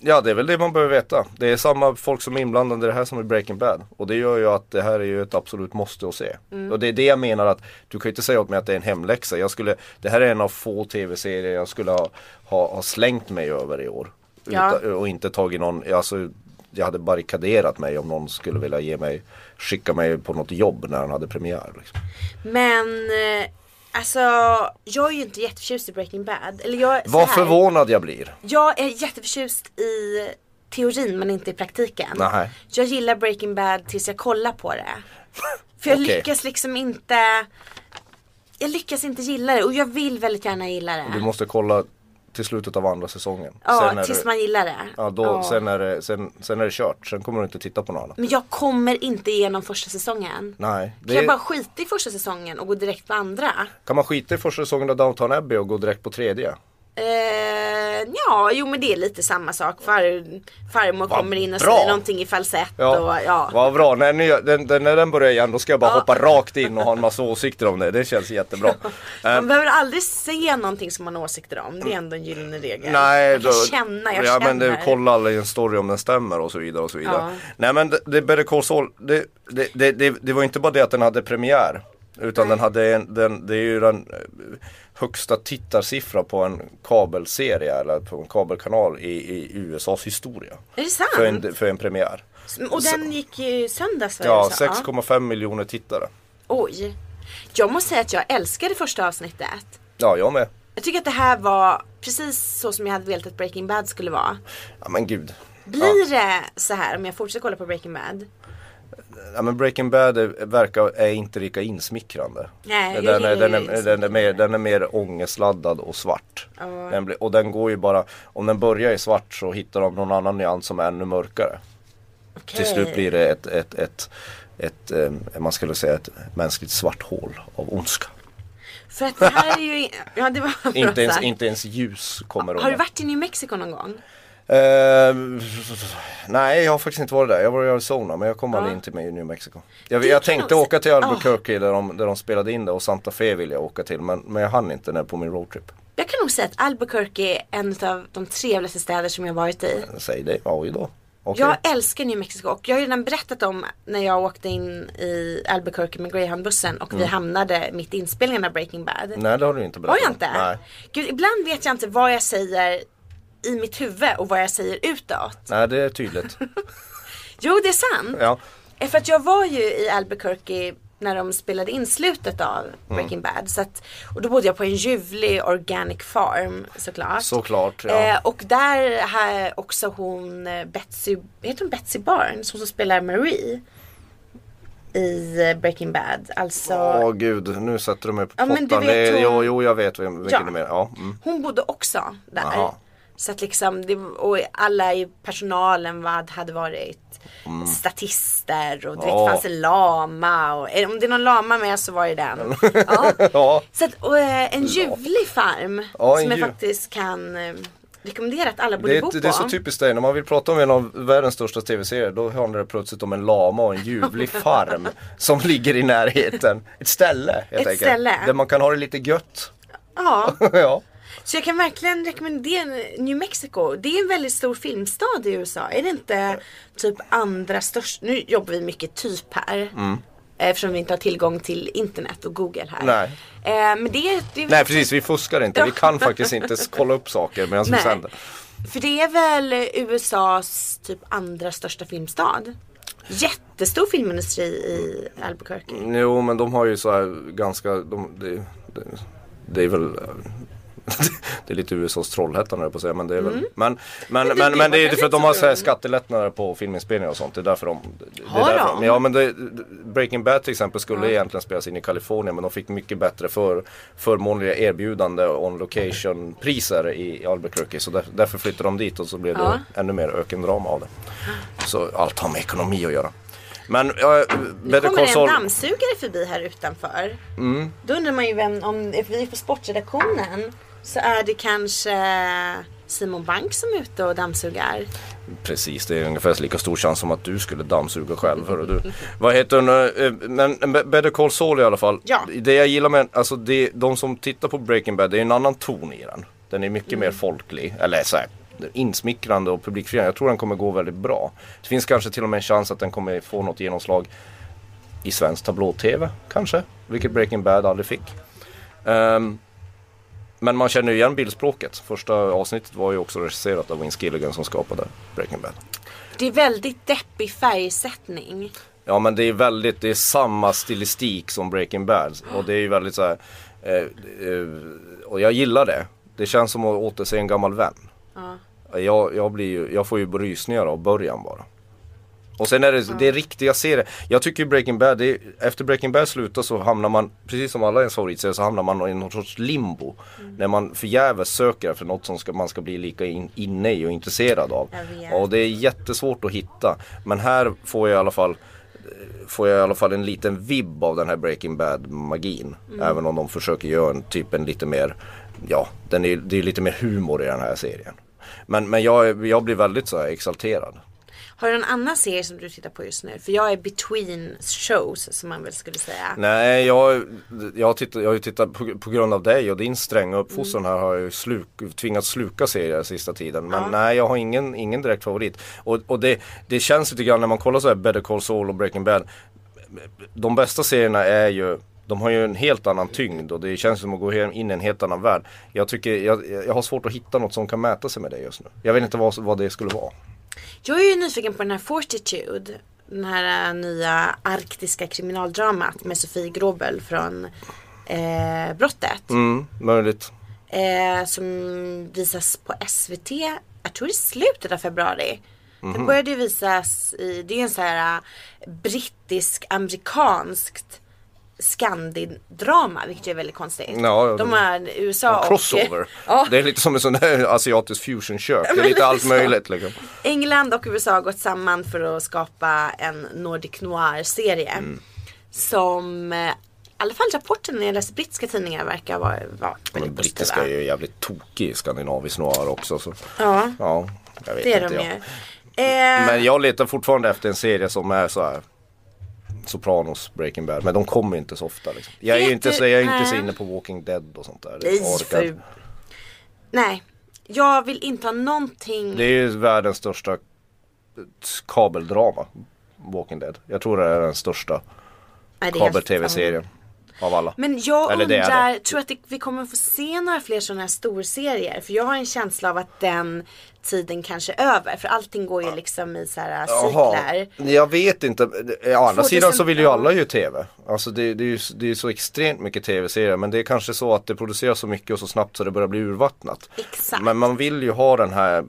Ja det är väl det man behöver veta. Det är samma folk som är inblandade i det här som i Breaking Bad. Och det gör ju att det här är ju ett absolut måste att se. Mm. Och det är det jag menar att du kan ju inte säga åt mig att det är en hemläxa. Jag skulle, det här är en av få tv-serier jag skulle ha, ha, ha slängt mig över i år. Ja. Utan, och inte tagit någon, alltså jag hade barrikaderat mig om någon skulle vilja ge mig, skicka mig på något jobb när han hade premiär. Liksom. Men eh, alltså jag är ju inte jätteförtjust i Breaking Bad. Eller jag, så Vad här, förvånad jag blir. Jag är jätteförtjust i teorin men inte i praktiken. Nej. Jag gillar Breaking Bad tills jag kollar på det. För jag [LAUGHS] Okej. lyckas liksom inte Jag lyckas inte gilla det och jag vill väldigt gärna gilla det. Du måste kolla till slutet av andra säsongen. Sen ja, är tills du- man gillar det. Ja, då, Ja. Sen, är det, sen, sen är det kört, sen kommer du inte titta på något annat. Men jag kommer inte igenom första säsongen. Nej, Kan det jag är, bara skita i första säsongen och gå direkt på andra? kan man skita i första säsongen av Downton Abbey och gå direkt på tredje? Eh, ja, jo men det är lite samma sak. Far, farmor kommer in och bra. säger någonting i falsett och ja. Vad bra, när, ni, den, den, när den börjar igen då ska jag bara Ja. hoppa rakt in och ha en massa åsikter om det, det känns jättebra. [LAUGHS] Man Ehm, behöver aldrig se någonting som man har åsikter om. Det är ändå en gyllene regel. Nej, jag kan då, känna, jag ja, känner. men du kollar aldrig en story om den stämmer och så vidare och så vidare. Ja. Nej men det, det Better Call Saul, det, det, det, det, det var inte bara det att den hade premiär. Utan den hade en, den, det är ju den eh, högsta tittarsiffra på en kabelserie eller på en kabelkanal i, i USAs historia. Är det sant? För en, för en premiär. Och den gick ju i söndags var det Ja, du sa? 6,5 miljoner tittare. Oj. Jag måste säga att jag älskade första avsnittet. Ja, jag med. Jag tycker att det här var precis så som jag hade velat att Breaking Bad skulle vara. Ja men gud. Blir det så här om jag fortsätter kolla på Breaking Bad? Ja men Breaking Bad är, verkar, är inte lika insmickrande. Nej, jag den, är, gillar den, ju är, den, är mer, den är mer ångestladdad och svart. Den blir, och den går ju bara, om den börjar i svart så hittar de någon annan nyans som är ännu mörkare. Till slut blir det ett, ett, ett, ett, eh, man skulle säga ett mänskligt svart hål av ondska. För att det här är ju... [LAUGHS] Ja, det var bra Inte ens, sagt. inte ens ljus kommer Har du varit i New Mexico någon gång? Eh, nej, jag har faktiskt inte varit där. Jag var i Arizona men jag kom aldrig Ja. in till mig i New Mexico. Jag, Det jag kan tänkte också- Ah. åka till Albuquerque där, de, där de spelade in det och Santa Fe ville jag åka till men, men jag hann inte när på min roadtrip. Jag kan nog säga att Albuquerque är en av de trevligaste städer som jag varit i. Säg det, ja då. Okej. Jag älskar New Mexico och jag har ju redan berättat om när jag åkte in i Albuquerque med Greyhound-bussen och vi hamnade mitt i inspelningen av Breaking Bad. Mm. Nej det har du inte berättat Har jag om. inte? Nej. Gud, ibland vet jag inte vad jag säger i mitt huvud och vad jag säger utåt. nej, det [LAUGHS] är tydligt. Jo, det är sant. ja. Eh, För att jag var ju i Albuquerque när de spelade in slutet av Mm. Breaking Bad. Så att, och då bodde jag på en ljuvlig organic farm såklart. Såklart, ja. Eh, och där har också hon eh, Betsy, heter hon Betsy Barnes? Hon som spelar Marie. I eh, Breaking Bad. Alltså. Åh gud, nu sätter du mig på Ja, men du pottan. det är, vet hon- jo, jo, jag vet vem, vilken Ja. du menar. Ja, mm. Hon bodde också där. Aha. Så att liksom, det, och alla i personalen vad hade varit statister och det Mm. Ja. fanns en lama och eh, om det är någon lama med så var det [LAUGHS] den. ja. ja. Så att, och, eh, en ljuvlig farm Ja, en som jag ljuv- faktiskt kan eh, rekommendera att alla borde Det, bo på. är, det är så typ- typiskt dig, när man vill prata om en av världens största tv-serier då handlar det plötsligt om en lama och en [LAUGHS] ljuvlig farm som ligger i närheten. Ett ställe helt Ett enkelt. ställe. Där man kan ha det lite gött. [LAUGHS] Ja, ja. så jag kan verkligen rekommendera New Mexico. Det är en väldigt stor filmstad i USA. Är det inte typ andra störst? Nu jobbar vi mycket typ här. Eftersom vi inte har tillgång till internet och Google här. Nej. Eh, men det är... Det är Nej precis, vi fuskar inte. Vi kan faktiskt inte s- kolla upp saker medan vi Nej. sänder. För det är väl USAs typ andra största filmstad. Jättestor filmindustri i Albuquerque. Mm, Jo men de har ju så här ganska, de, det, det, det är väl [LAUGHS] eh, det är lite USAs Trollhättan höll jag på att säga men det är väl Men, men, men, Mm. det men, var det är ju väl för att de lite har så här så. skattelättnader på filminspelningar och sånt. Det är därför de det är Har därför, de? Ja men det, Breaking Bad till exempel skulle egentligen spelas in i Kalifornien men de fick mycket bättre för, förmånliga erbjudande on location priser i Albuquerque så där, därför flyttade de dit och så blev Ja. Ah. det ännu mer ökendrama av det. Så allt har med ekonomi att göra. Men äh, Nu Better kommer det Call en Saul dammsugare förbi här utanför. Mm. Då undrar man ju vem, om if vi är på sportredaktionen så är det kanske Simon Bank som är ute och dammsugar. Precis, det är ungefär lika stor chans som att du skulle dammsuga själv. Hörru, du. Vad heter hon? eh, Men eh, Better Call Saul i alla fall. Ja. Det jag gillar med, alltså det, de som tittar på Breaking Bad, det är en annan ton i den. Den är mycket mer folklig, eller så här, insmickrande och publikfriande. Jag tror den kommer gå väldigt bra. Det finns kanske till och med en chans att den kommer få något genomslag i svensk tablå-tv kanske. Vilket Breaking Bad aldrig fick. Ehm, men man känner ju igen bildspråket. Första avsnittet var ju också regisserat av Vince Gilligan som skapade Breaking Bad. Det är väldigt deppig färgsättning. Ja men det är väldigt, det är samma stilistik som Breaking Bad. Och det är ju väldigt så här, eh, eh, och jag gillar det. Det känns som att återse en gammal vän. Ja. Jag, jag, blir ju, jag får ju rysningar av början bara. Och sen är det, det är riktiga serier. Jag tycker Breaking Bad, det är, efter Breaking Bad slutar så hamnar man, precis som alla ens favoritserier, så hamnar man i någon sorts limbo. När man förgäves söker efter något som ska, man ska bli lika in, inne i och intresserad av. Ja, vi är. Och det är jättesvårt att hitta. Men här får jag i alla fall Får jag i alla fall en liten vibb av den här Breaking Bad magin. Även om de försöker göra en typ en lite mer Ja, den är, det är lite mer humor i den här serien. Men, men jag, jag blir väldigt så här exalterad. Har du någon annan serie som du tittar på just nu? För jag är between shows som man väl skulle säga. Nej, jag, jag, tittar, jag har ju tittat på, på grund av dig och din stränga uppfostran här har jag ju sluk, tvingats sluka serier sista tiden. Men nej, jag har ingen, ingen direkt favorit. Och, och det, det känns lite grann när man kollar så här Better Call Saul och Breaking Bad. De bästa serierna är ju de har ju en helt annan tyngd och det känns som att gå he- in i en helt annan värld. Jag, tycker, jag, jag har svårt att hitta något som kan mäta sig med det just nu. Jag vet inte vad, vad det skulle vara. Jag är ju nyfiken på den här Fortitude. Den här eh, nya arktiska kriminaldramat med Sofie Gråbel från eh, Brottet. Mm, möjligt. Eh, som visas på SVT, jag tror i slutet av februari. Mhm. Det började ju visas i, det är ju en sån här eh, brittisk-amerikanskt skandindrama vilket ju är väldigt konstigt. Ja, ja, De det- är USA och Crossover. ja, Det är lite som en sån där asiatisk fusionkök. Det men är lite allt lite så. möjligt liksom. England och USA har gått samman för att skapa en Nordic Noir-serie. Mm. Som eh, i alla fall rapporten när jag läser brittiska tidningar verkar vara, vara Men väldigt brittiska positiva. är ju jävligt tokig i skandinavisk noir också. Så. Ja, Ja, jag vet det är inte. de jag. ju. Men Eh, jag letar fortfarande efter en serie som är så här. Sopranos, Breaking Bad. Men de kommer inte så ofta. Liksom. Jag är Vet ju inte, du- så, jag är inte så nej. inne på Walking Dead och sånt där. Det nej, orkar jag för, inte. nej, jag vill inte ha någonting. det är ju världens största kabeldrama. Walking Dead. Jag tror det är den största Nej, det är helt- kabel-tv-serien. Av alla. Men jag Eller det är det. undrar, tror att det, vi kommer få se några fler sådana här storserier? För jag har en känsla av att den tiden kanske är över. För allting går ju liksom i så här cykler. jag vet inte. Å andra 2000 sidan så vill ju alla ju tv. Alltså det, det är ju det är ju så extremt mycket tv-serier. Men det är kanske så att det produceras så mycket och så snabbt så det börjar bli urvattnat. Exakt. Men man vill ju ha den här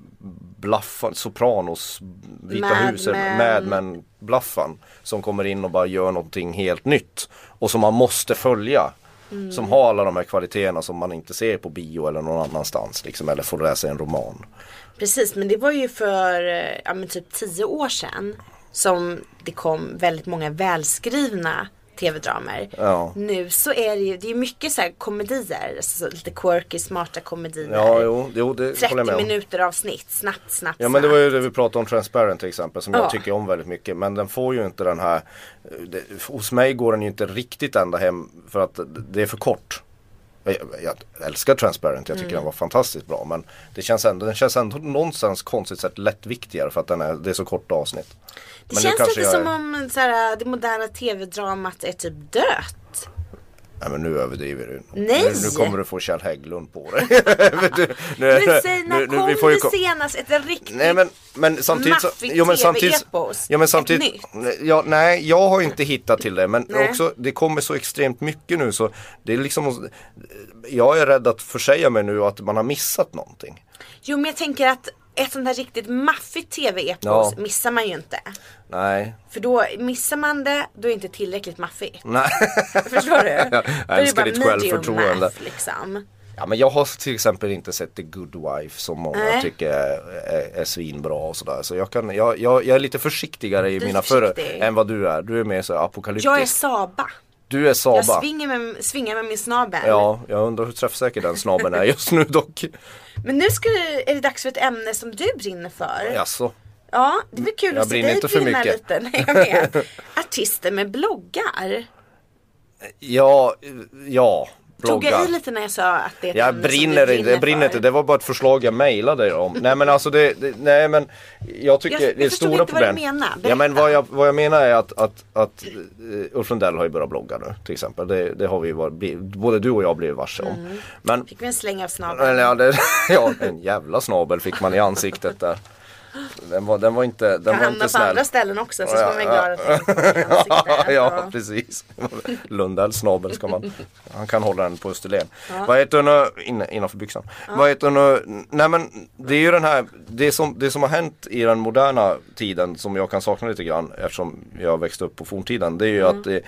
blaffan, Sopranos, Vita Mad huset, Men. Mad Men blaffan. Som kommer in och bara gör någonting helt nytt. Och som man måste följa. Mm. Som har alla de här kvaliteterna som man inte ser på bio eller någon annanstans. Liksom, eller får läsa i en roman. Precis, men det var ju för eh, ja, men typ tio år sedan som det kom väldigt många välskrivna tv-dramer. Ja. Nu så är det ju, det är mycket så här komedier, alltså lite quirky, smarta komedier. Ja, jo, jo det håller 30 jag med om. minuter avsnitt, snabbt, snabbt, Ja men det snabbt. var ju det vi pratade om Transparent till exempel som Ja. jag tycker om väldigt mycket. Men den får ju inte den här, eh, det, hos mig går den ju inte riktigt ända hem för att det är för kort. Jag, jag älskar Transparent, jag tycker Mm. den var fantastiskt bra. Men det känns ändå, den känns ändå någonstans konstigt sett lättviktigare för att den är, det är så korta avsnitt. Det men nu känns kanske lite jag som är- om så här, det moderna tv-dramat är typ dött. Nej men nu överdriver du. Nej! Nu, nu kommer du få Kjell Hägglund på dig. [LAUGHS] Vet du, [LAUGHS] nu, Men säg när nu- nu- kom vi får ju det kom- senast ett riktigt Nej men, men samtidigt så, Maffigt men samtidigt, TV-epos. ja, men samtidigt Ett ja, Nej jag har inte hittat till det men Nej. också det kommer så extremt mycket nu så det är liksom Jag är rädd att försäga mig nu att man har missat någonting Jo men jag tänker att ett sånt här riktigt maffigt tv-epos Ja. missar man ju inte. Nej, För då missar man det, då är det inte tillräckligt [LAUGHS] maffigt. nej [LAUGHS] Förstår du? Då är det älskar bara ditt självförtroende. medium math, Liksom. ja, men Jag har till exempel inte sett The Good Wife som många Nej. tycker är, är, är svinbra och sådär så jag, kan, jag, jag, jag är lite försiktigare i Du är mina förr försiktig. än vad du är Du är mer så här Jag är apokalyptisk Saba. Du är Saba Jag svingar med, svingar med min snabel. Ja, jag undrar hur träffsäker den snabben är just nu dock Men nu ska det, är det dags för ett ämne som du brinner för. Jaså? Ja, det är väl kul Jag att se brinner dig inte för brinna mycket. lite. Nej, [LAUGHS] jag [LAUGHS] vet. Artister med bloggar. Ja, ja. Tog bloggar. jag i lite när jag sa att det är ett Jag ämne som du brinner inte, jag brinner för? inte. Det var bara ett förslag jag mejlade er om. Nej men alltså det, det nej men jag tycker Jag- jag det är förstod stora inte vad du problem. menar. Ja men Berätta. vad jag, vad jag menar är att, att, att eh, Ulf Lundell har ju börjat blogga nu till exempel. Det, det har vi ju varit, bli- både du och jag blivit varse om. Men Mm. Fick vi en släng av snabeln? eller, ja, det, [LAUGHS] ja, en jävla snabel fick man i ansiktet där. Den var, den var inte, den Kan var hamna inte på snäll. andra ställen också så Ja, ska man vara glad att [LAUGHS] ja, det ja precis. [LAUGHS] Lundells snabel ska man. Han kan hålla den på Österlen. Vad heter den nu? In, innanför byxan. Vad heter den nu? Nej men det är ju den här. Det som, det som har hänt i den moderna tiden som jag kan sakna lite grann eftersom jag växte upp på forntiden. Det är ju att det,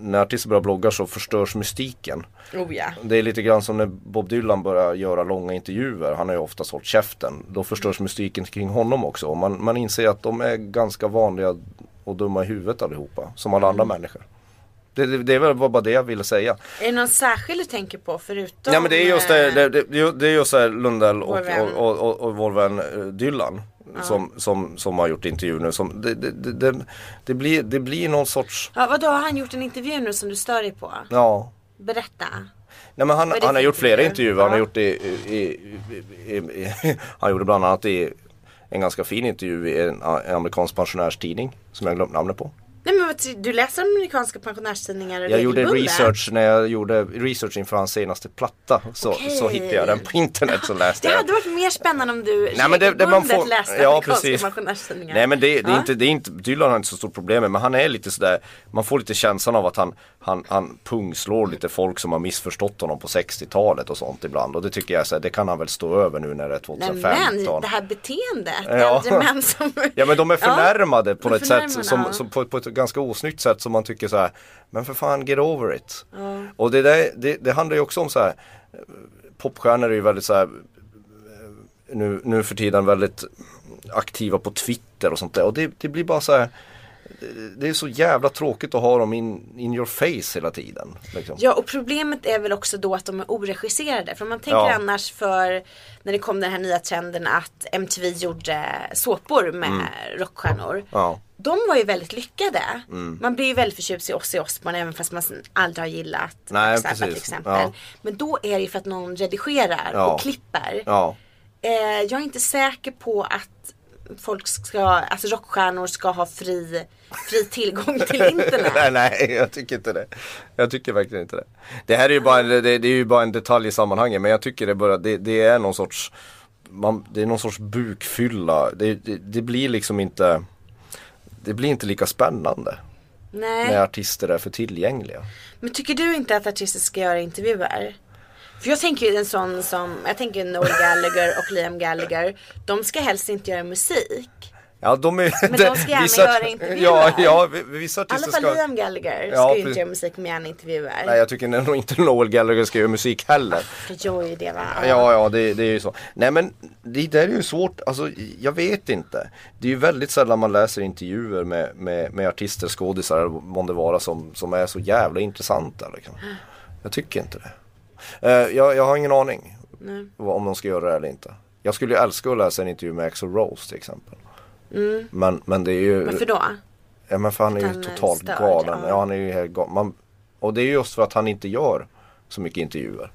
när artister börjar blogga så förstörs mystiken. Oh ja. Det är lite grann som när Bob Dylan börjar göra långa intervjuer. Han har ju oftast hållit käften. Då förstörs Mm. mystiken kring honom också. Och Man, man inser att de är ganska vanliga och dumma i huvudet allihopa. Som alla Mm. andra människor. Det, det, det var bara det jag ville säga. Är det någon särskild du tänker på förutom? Nej men det är just det, eh, det, det, det är ju- det är just det här Lundell och, Vår vän. och, och, och, och vår vän eh, Dylan. Som, som, som har gjort intervjuer nu. Som, det, det, det, det, det, blir, det blir någon sorts, Ja, vadå, har han gjort en intervju nu som du stör dig på? ja. Berätta. Nej men han, Vad är det han har för gjort flera intervjuer? intervjuer. Han har Ja. gjort i, i, i, i, i, Han gjorde bland annat i en ganska fin intervju i en, a- en amerikansk pensionärstidning som jag glömt namnet på. Nej men vad ty- du läser amerikanska pensionärstidningar Jag gjorde regelbundet? research när jag gjorde research inför hans senaste platta. Så, Okej. så hittade jag den på internet så läste Det jag den. hade varit mer spännande om du Nej, men det- det- man regelbundet får- läste ja, amerikanska precis. pensionärstidningar. Nej men det, det är Ja. inte, det är inte, Dylan har inte så stort problem med men han är lite sådär Man får lite känslan av att han, han, han pungslår lite folk som har missförstått honom på 60-talet och sånt ibland och det tycker jag såhär, det kan han väl stå över nu när det är Nej 2015 men det här beteendet, Ja. äldre män som Ja men de är förnärmade Ja, på ett sätt förnärmade, som, ja. som på, på ett ganska osnyggt sätt som man tycker så här. Men för fan get over it. Och det, där, det, det handlar ju också om så här. eh, Popstjärnor är ju väldigt så här. eh, Nu, nu för tiden väldigt aktiva på Twitter och sånt där. Och det, det blir bara så här. eh, Det är så jävla tråkigt att ha dem in, in your face hela tiden. Liksom. Ja och problemet är väl också då att de är oregisserade. För om man tänker Ja. annars för när det kom den här nya trenden att MTV gjorde såpor med rockstjärnor. Mm. Ja. Mm. De var ju väldigt lyckade. Man blir ju väldigt förtjust i Ozzy Osbourne även fast man aldrig har gillat Nej, Black Sabbath till precis. exempel. Ja. Men då är det ju för att någon redigerar Ja. och klipper. Ja. Eh, jag är inte säker på att folk ska, alltså rockstjärnor ska ha fri, fri tillgång [LAUGHS] till internet. [LAUGHS] nej, nej, jag tycker inte det. Jag tycker verkligen inte det. Det här är ju bara en, det, det är ju bara en detalj i sammanhanget men jag tycker det, börjar, det, det är någon sorts man, Det är någon sorts bukfylla. Det, det, det blir liksom inte Det blir inte lika spännande Nej. när artister är för tillgängliga. Men tycker du inte att artister ska göra intervjuer? För jag tänker ju en sån som, jag tänker Noel Gallagher och Liam Gallagher. De ska helst inte göra musik. Ja, de är, Men [LAUGHS] de ska gärna göra intervjuer. Ja, ja, vi- vissa I alla artister fall ska Liam Gallagher Ja, ska ju precis. inte göra musik men gärna intervjuer. Nej jag tycker nog inte Noel Gallagher ska göra musik heller. För jag är ju det va? Ja, ja det, det är ju så. Nej men det där är ju svårt, alltså jag vet inte. Det är ju väldigt sällan man läser intervjuer med, med, med artister, skådisar eller vad det vara som, som är så jävla intressanta. Liksom. Jag tycker inte det. Eh, jag, jag har ingen aning vad- om de ska göra det eller inte. Jag skulle ju älska att läsa en intervju med Axl Rose till exempel. Men, men det är ju... Varför då? Ja men för han är Att ju han är totalt störd, galen. Ja. ja. han är ju helt galen. Man, och det är just för att han inte gör så mycket intervjuer.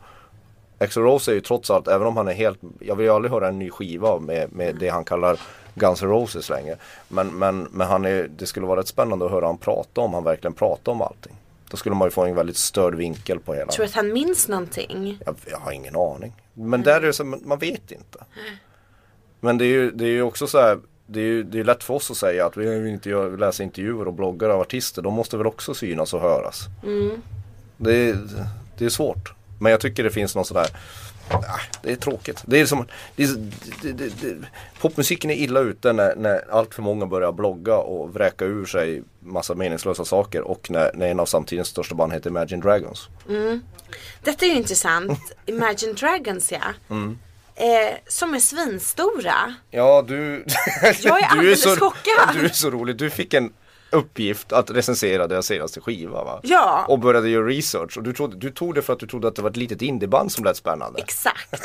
Axl Rose är ju trots allt, även om han är helt, jag vill ju aldrig höra en ny skiva med, med det han kallar Guns N' Roses längre. Men, men, men han är, det skulle vara rätt spännande att höra han prata om han verkligen pratar om allting. Då skulle man ju få en väldigt störd vinkel på hela. Tror du att han minns någonting? Jag, jag har ingen aning. Men där är det så, man man vet inte. Men det är ju, det är ju också så här. Det är ju det är lätt för oss att säga att vi vill inte gör- läsa intervjuer och bloggar av artister. De måste väl också synas och höras. Det, är, det är svårt. Men jag tycker det finns någon sådär. Ah, det är tråkigt. Det är som, det är, det, det, det, popmusiken är illa ute när, när allt för många börjar blogga och vräka ur sig massa meningslösa saker. Och när, när en av samtidens största band heter Imagine Dragons. Detta är ju intressant. Imagine Dragons ja. Mm. Eh, som är svinstora. Ja du, [LAUGHS] Jag är alldeles chockad. Du är så rolig, du fick en uppgift att recensera deras senaste skiva va? Ja. Och började göra research och du, trodde, du tog det för att du trodde att det var ett litet indieband som lät spännande [LAUGHS] Exakt.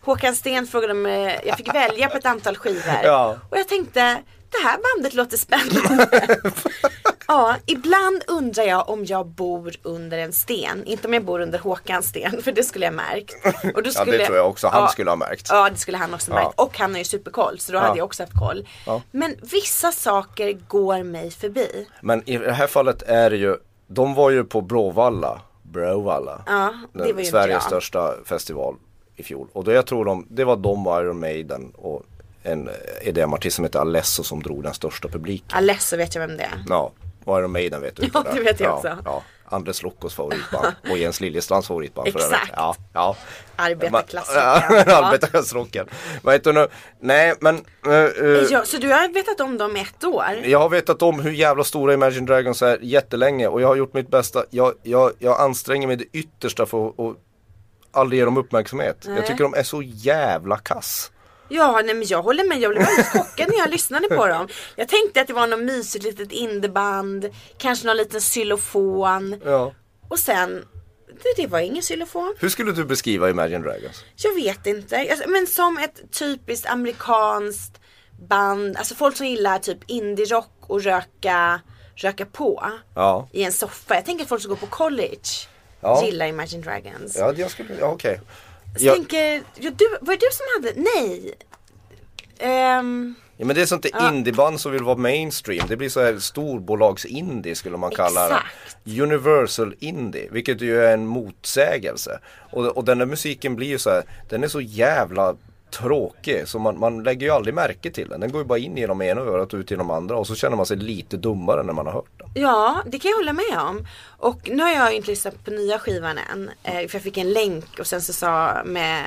Håkan Sten frågade om eh, jag fick välja på ett antal skivor. Ja. [LAUGHS] Och jag tänkte, det här bandet låter spännande. Ja, ibland undrar jag om jag bor under en sten. Inte om jag bor under Håkans sten, för det skulle jag märkt. Och då Ja, det tror jag också han ja, skulle ha märkt. Ja, det skulle han också Ja. märkt. Och han har ju superkoll, så då hade jag också haft koll. Ja. Men vissa saker går mig förbi. Men i det här fallet är det ju, de var ju på Bråvalla, Bråvalla, Ja, det var ju inte Sveriges jag. största festival i fjol. Och då jag tror de, det var de och Iron Maiden och en EDM-artist som heter Alesso som drog den största publiken. Alesso vet jag vem det är. Ja, och Iron Maiden vet du vilka Ja, det vet jag ja, också. Ja. Andres Lokos favoritband och Jens Liljestrands favoritband för Exakt. övrigt. Ja, ja. Arbetarklassiker. Ja, [LAUGHS] Arbetarklassrocken. Vad heter nu? Nej men eh, eh, Ja, så du har vetat om dem ett år? jag har vetat om hur jävla stora Imagine Dragons är jättelänge och jag har gjort mitt bästa. Jag, jag, jag anstränger mig det yttersta för att att aldrig ge dem uppmärksamhet. Jag Nej. tycker de är så jävla kass. Ja, nej men jag håller med. Jag blev alldeles chockad när jag lyssnade på dem. Jag tänkte att det var något mysigt litet indieband, kanske någon liten xylofon. Ja. Och sen, det, det var ingen xylofon. Hur skulle du beskriva Imagine Dragons? Jag vet inte. Jag- Men som ett typiskt amerikanskt band, alltså folk som gillar typ indie-rock och röka, röka på Ja, i en soffa. Jag tänker att folk som går på college Ja. gillar Imagine Dragons. ja jag skulle, ja okej. Så Ja, tänker, ja, du, var det du som hade, nej. Ehm, ja, men det är sånt där Ja. indieband som vill vara mainstream. Det blir så här storbolags-indie skulle man kalla Exakt. det. Universal indie, vilket ju är en motsägelse. Och, och den där musiken blir ju så här, den är så jävla tråkig så man, man lägger ju aldrig märke till den. Den går ju bara in genom ena örat och ut genom andra och så känner man sig lite dummare när man har hört den. Ja, det kan jag hålla med om. Och nu har jag ju inte lyssnat på nya skivan än. eh, För jag fick en länk och sen så sa med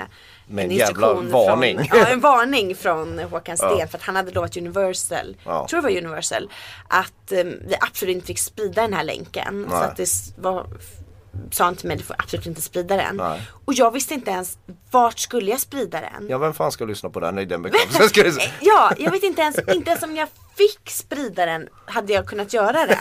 Med en instruktion jävla varning. Från, [LAUGHS] ja, en varning från Håkan Sten för att han hade lovat Universal, Ja. tror det var Universal, att eh, vi absolut inte fick sprida den här länken. Så Nej. att det s- var, f- sa han till mig, du får absolut inte sprida den. Nej. Och jag visste inte ens vart skulle jag sprida den. Ja vem fan ska lyssna på den i den [LAUGHS] bekantskapen? Ska jag säga. Ja, jag vet inte [LAUGHS] ens, inte ens om jag fick sprida den hade jag kunnat göra [LAUGHS] det.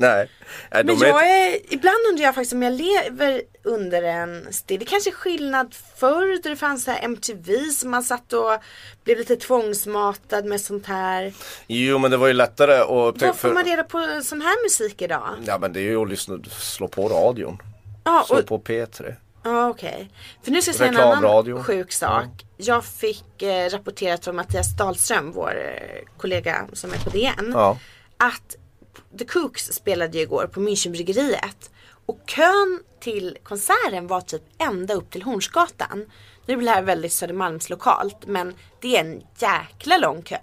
Nej. Nej, de Men är jag är, ibland undrar jag faktiskt om jag lever under en sten. Det kanske är skillnad förr då det fanns så här MTV som man satt och blev lite tvångsmatad med sånt här. Jo men det var ju lättare att upptäcka Var får man reda på sån här musik idag? Ja men det är ju att lyssna, slå på radion. Ja, Slå och, på P3. ja okej. För nu ska jag säga en annan Reklamradio. sjuk sak. Jag fick eh, rapporterat från Mattias Dahlström, vår eh, kollega som är på DN. Ja. att The Cooks spelade ju igår på Münchenbryggeriet och kön till konserten var typ ända upp till Hornsgatan. Nu blir det här väldigt Södermalmslokalt men det är en jäkla lång kö.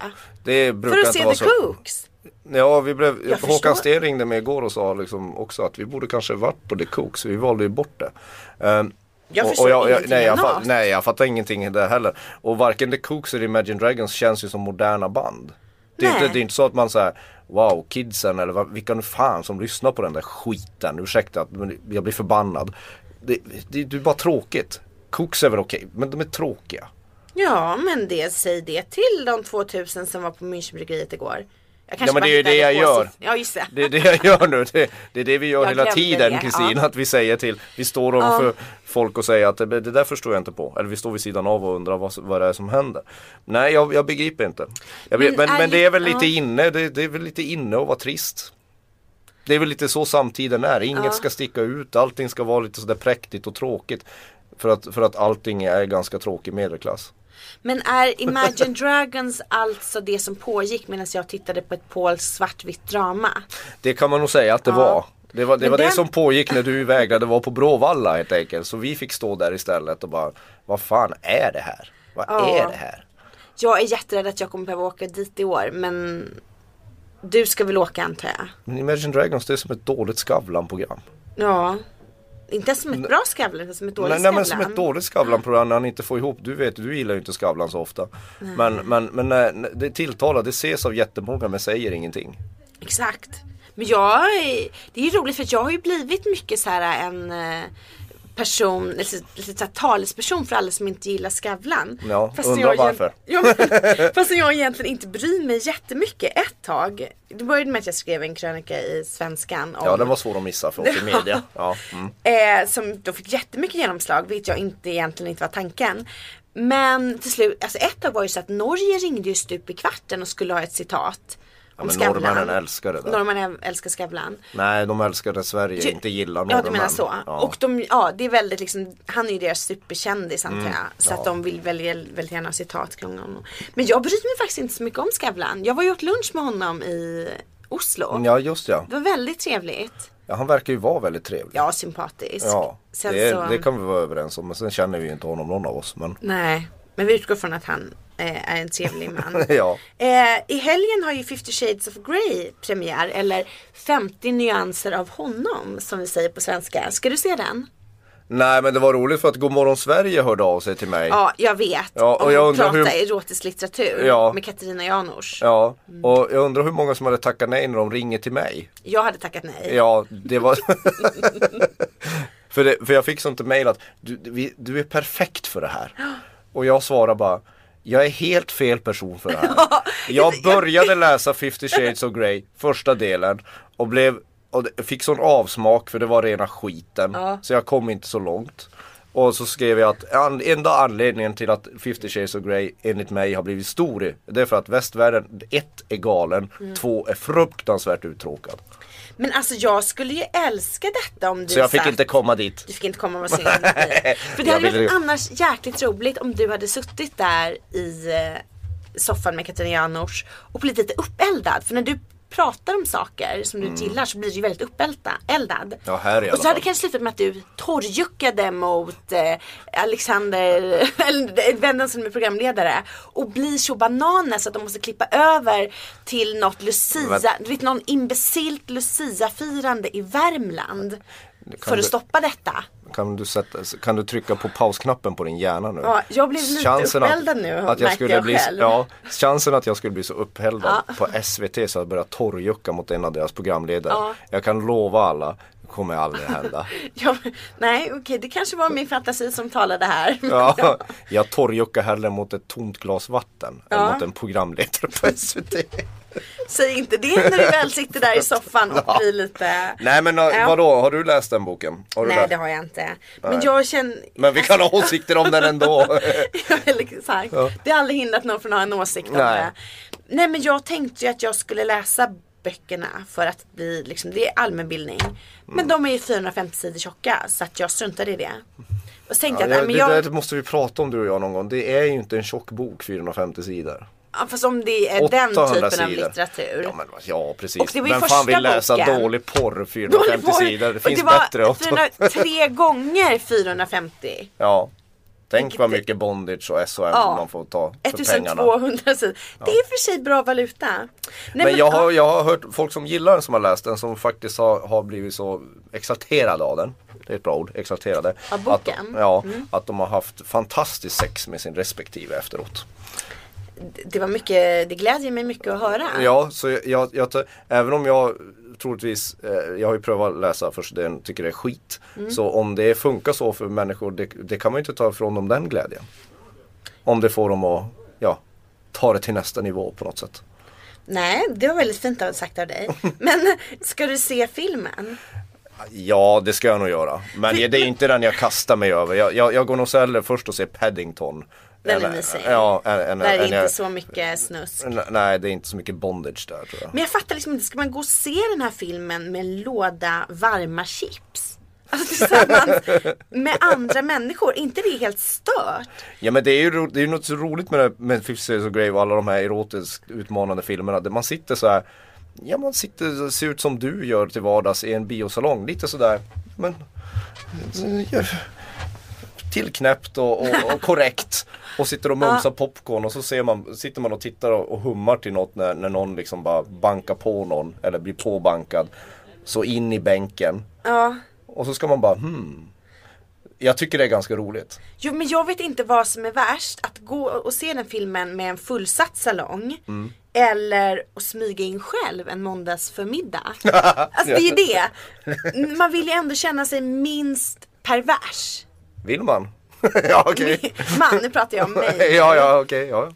Det brukar För att inte se vara The så. Cooks. Ja, vi blev, Jag förstår. Håkan Sten ringde mig igår och sa liksom också att vi borde kanske varit på The Cook så vi valde ju bort det. Ehm, Jag och- och förstår ingenting nej, jag av fa- något. nej, jag fattar ingenting där heller. Och varken The Cooks eller Imagine Dragons känns ju som moderna band. Det är, Nej. inte, det är inte så att man säger Wow, kidsen eller vad- vilka nu fan som lyssnar på den där skiten. Ursäkta, men jag blir förbannad. Det, det, det är bara tråkigt. Cooks är väl okej, men de är tråkiga. Ja men det, säg det till de 2000 som var på Münchenbryggeriet igår. Jag kanske Ja, men bara det är ju det hittade jag på gör. siff- Ja just det. Det är det jag gör nu. Det, det är det vi gör Jag hela glömde tiden det, Kristina. ja. Att vi säger till, vi står ovanför folk och säger att det, det där förstår jag inte på. Eller vi står vid sidan av och undrar vad, vad det är som händer. Nej, jag, jag begriper inte. Jag Men men, men, är men ju- det är väl lite ja. inne, det, det är väl lite inne att vara trist. Det är väl lite så samtiden är. Inget ska sticka ut, allting ska vara lite sådär präktigt och tråkigt. För att, för att allting är ganska tråkig medelklass. Men är Imagine Dragons alltså det som pågick medan jag tittade på ett polskt svartvitt drama? Det kan man nog säga att det Ja. var. Det var, det, Men var det den- som pågick när du vägrade vara på Bråvalla helt enkelt. Så vi fick stå där istället och bara Vad fan är det här? Vad Ja. är det här? Jag är jätterädd att jag kommer behöva åka dit i år men du ska väl åka antar jag? Men Imagine Dragons det är som ett dåligt Skavlan-program. Ja. Inte ens som ett bra Skavlan utan som ett dåligt Nej, nej men som Skavlan. ett dåligt Skavlan-program när han inte får ihop. Du vet, du gillar ju inte Skavlan så ofta. Men, men, men eh, det tilltalar, det ses av jättemånga men säger ingenting. Exakt. Men jag, är- det är ju roligt för att jag har ju blivit mycket så här en eh, person, eller så- lite så här talesperson för alla som inte gillar Skavlan. Ja, som undrar jag, egent- varför. [LAUGHS] Ja, men, fast som jag egentligen inte bryr mig jättemycket ett tag. Det började med att jag skrev en krönika i Svenskan om Ja den var svår att missa för oss i media. Ja, mm. Eh, som då fick jättemycket genomslag, vilket jag inte egentligen inte var tanken. Men till slut, alltså ett tag var ju så att Norge ringde ju stup i kvarten och skulle ha ett citat. Ja, men Skavlan. norrmännen älskar det där. Norrmännen älskar Skavlan. Nej, de älskar det Sverige inte gillar Ja norrmän. du menar så. Ja. Och de, ja det är väldigt liksom, han är ju deras superkändis antar jag. Så Mm, ja. att de vill väldigt, väldigt gärna ha citat kring honom. Men jag bryr mig faktiskt inte så mycket om Skavlan. Jag var ju åt lunch med honom i Oslo. Mm, Ja just ja. Det var väldigt trevligt. ja. Han verkar ju vara väldigt trevlig. Ja, sympatisk. Ja, Sen det, så, det kan vi vara överens om. Men sen känner vi ju inte honom någon av oss. Men Nej, men vi utgår från att han eh, är en trevlig man. [LAUGHS] ja, Eh, I helgen har ju 50 Shades of Grey premiär, eller 50 nyanser av honom som vi säger på svenska. Ska du se den? nej men det var roligt för att Godmorgon Sverige hörde av sig till mig. Ja, jag vet. Ja, och Om jag jag undrar pratar hur- erotisk litteratur Ja. med Katarina Janouch. Ja, och jag undrar hur många som hade tackat nej när de ringer till mig. Jag hade tackat nej. Ja, det var för, det, för jag fick sånt mejl att du, du- vi- du är perfekt för det här. Och jag svarar bara jag är helt fel person för det här. Jag började läsa 50 shades of Grey, första delen och blev och det- fick sån avsmak för det var rena skiten. Så jag kom inte så långt. Och så skrev jag att an, enda anledningen till att 50 shades of Grey enligt mig har blivit stor i- det är för att västvärlden, ett är galen, två är fruktansvärt uttråkad. Men alltså jag skulle ju älska detta om du Så jag fick satt- inte komma dit. Du fick inte komma och [LAUGHS] vara synd. För det Jag hade ville- varit annars jäkligt roligt om du hade suttit där i eh, soffan med Katarina Janouch och blivit lite uppeldad. För när du pratar om saker som du gillar så blir du ju väldigt uppeldad. eldad. Mm. Ja, här i alla och så hade fall. det kanske slutat med att du torrjuckade mot eh, Alexander, [LAUGHS] eller vännen som är programledare och blir så bananer så att de måste klippa över till något Lucia, Men- du vet någon imbecilt Lucia-firande i Värmland. För att du- stoppa detta. Kan du, sätta, kan du trycka på pausknappen på din hjärna nu? Ja, jag blev lite uppeldad nu, märkte jag bli, själv. ja, Chansen att jag skulle bli så uppeldad på SVT så att jag börjar torrjucka mot en av deras programledare. Ja. Jag kan lova alla, det kommer aldrig [LAUGHS] hända. Ja, nej okej det kanske var min fantasi som talade här. Ja, jag torrjuckar hellre mot ett tomt glas vatten Ja. än mot en programledare på SVT. [LAUGHS] Säg inte det när du väl sitter där i soffan och blir lite Nej men Ja. ja. vadå, har du läst den boken? Har du Nej läst? det har jag inte. Men jag känner [LAUGHS] Men vi kan ha åsikter om den ändå. Ja, eller exakt. Det har aldrig hindrat någon från att ha en åsikt om Nej. det. Nej men jag tänkte ju att jag skulle läsa böckerna för att bli liksom, det är allmänbildning. Men Mm. de är ju 450 sidor tjocka så att jag struntade i det. Och tänkte Ja, att, nej, det men jag, där måste vi prata om du och jag någon gång. Det är ju inte en tjock bok 450 sidor. ja, fast om det är den 800 typen av sidor. litteratur. Ja, men, ja Och precis. det var Vem ju fan vill första läsa boken. dålig porr 450 Dålig porr. sidor? Det Och finns det var bättre också. 400, tre gånger 450. Ja. Tänk Vilket- vad mycket bondage och SOM man får ta [LAUGHS] för pengarna. 1200 sidor. Det är i och för sig bra valuta. Nej, Men jag har, jag har hört folk som gillar den som har läst den som faktiskt har, har blivit så exalterade av den. Det är ett bra ord, exalterade. Av boken? Mm. Att, de- ja, att de har haft fantastiskt sex med sin respektive efteråt. Det var mycket, det glädjer mig mycket att höra. Ja, så jag, jag, jag tar- även om jag troligtvis, eh, jag har ju prövat att läsa först den tycker det är skit. Mm. Så om det funkar så för människor, det, det kan man ju inte ta ifrån dem den glädjen. Om det får dem att, ja, ta det till nästa nivå på något sätt. Nej, det var väldigt fint av- sagt av [LAUGHS] dig. Men ska du se filmen? Ja, det ska jag nog göra. Men det är inte den jag kastar mig över. Jag, jag, jag går nog så hellre först och ser Paddington. Den är Än- mysig. Ja, än, än, Där är än inte jag, så mycket snusk. Nej, det är inte så mycket bondage där tror jag. Men jag fattar liksom inte, ska man gå och se den här filmen med en låda varma chips? Alltså tillsammans [LAUGHS] med andra människor, Är inte det är helt stört? Ja men det är ju, ro- det är ju något så roligt med, det, med Fifty Shades of Grey och alla de här erotiskt utmanande filmerna. Där man sitter så här, ja man sitter och ser ut som du gör till vardags i en biosalong. Lite sådär, men ja, tillknäppt och, och, och korrekt. Och sitter och mumsar popcorn och så ser man, sitter man och tittar och, och hummar till något när, när någon liksom bara bankar på någon eller blir påbankad. Så in i bänken. Ja. Och så ska man bara hmm. Jag tycker det är ganska roligt. Jo men jag vet inte vad som är värst, att gå och se den filmen med en fullsatt salong Eller att smyga in själv en måndagsförmiddag [LAUGHS] Alltså det är ju det Man vill ju ändå känna sig minst pervers Vill man? [LAUGHS] ja okej. [LAUGHS] Man, nu pratar jag om mig [LAUGHS] ja, ja, okej. ja.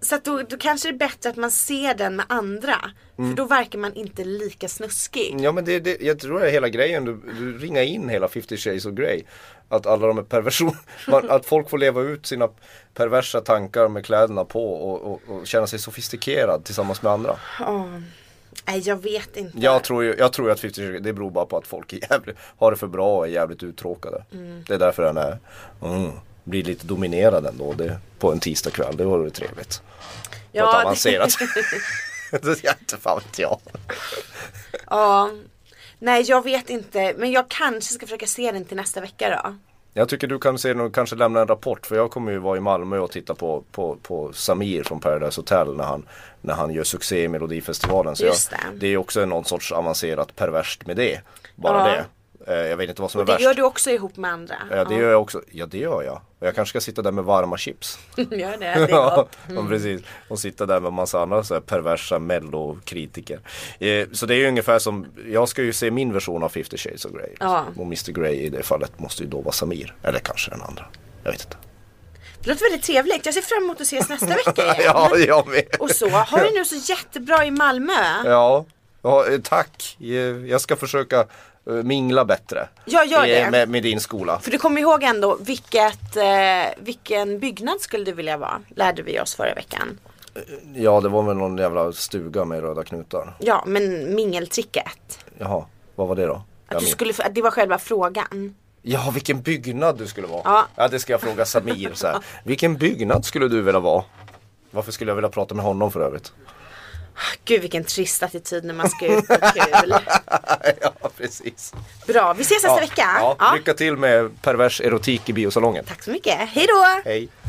Så att då, då kanske det är bättre att man ser den med andra Mm. För då verkar man inte lika snuskig ja, men det, det, jag tror det är hela grejen. Du, du ringar in hela 50 Shades of Grey. Att alla de är perversion, [LAUGHS] man, att folk får leva ut sina perversa tankar med kläderna på och, och, och känna sig sofistikerad tillsammans med andra. Åh. Nej jag vet inte. Jag tror ju jag tror ju att 50 Shades, det beror bara på att folk är jävligt, har det för bra och är jävligt uttråkade. Det är därför den är, mm, blir lite dominerad ändå det, på en tisdagkväll. Det vore ju trevligt. Ja, Något det- [LAUGHS] avancerat. [LAUGHS] det jag inte fan vet jag. Ja. Nej jag vet inte. Men jag kanske ska försöka se den till nästa vecka då. Jag tycker du kan se någon, kanske lämna en rapport för jag kommer ju vara i Malmö och titta på, på, på Samir från Paradise Hotel när han, när han gör succé i Melodifestivalen. Så Just jag, det. det är ju också någon sorts avancerat perverst med det. Bara Ja. det. Eh, Jag vet inte vad som är Det värst. gör du också ihop med andra. Ja det gör jag också. Ja det gör jag. Och jag kanske ska sitta där med varma chips. [LAUGHS] Gör det. det är [LAUGHS] Ja, gott. ja, precis. Och sitta där med massa andra så här perversa mellokritiker. Eh, så det är ju ungefär som, jag ska ju se min version av 50 Shades of Grey. Ja. Och Mr Grey i det fallet måste ju då vara Samir. Eller kanske den andra. Jag [LAUGHS] vet inte. Det låter väldigt trevligt. Jag ser fram emot att ses nästa vecka igen. [LAUGHS] Ja, jag med. Och så. Har det nu så jättebra i Malmö. Ja. ja, eh, tack. Eh, Jag ska försöka eh, mingla bättre. Ja, gör Eh, det. Med, med din skola. För du kommer ihåg ändå vilket, eh, vilken byggnad skulle du vilja vara? Lärde vi oss förra veckan. Ja, det var väl någon jävla stuga med röda knutar. Ja men mingeltricket. Jaha, vad var det då? Att Jag du minns- skulle, att det var själva frågan. Ja, vilken byggnad du skulle vara. Ja. Ja, det ska jag fråga Samir så här. Vilken byggnad skulle du vilja vara? Varför skulle jag vilja prata med honom för övrigt? [LAUGHS] Gud vilken trist attityd när man ska ut på [LAUGHS] kul. ja, precis. Bra, vi ses nästa Ja, vecka. Ja, lycka till med pervers erotik i biosalongen. Tack så mycket. Hej då. Hej.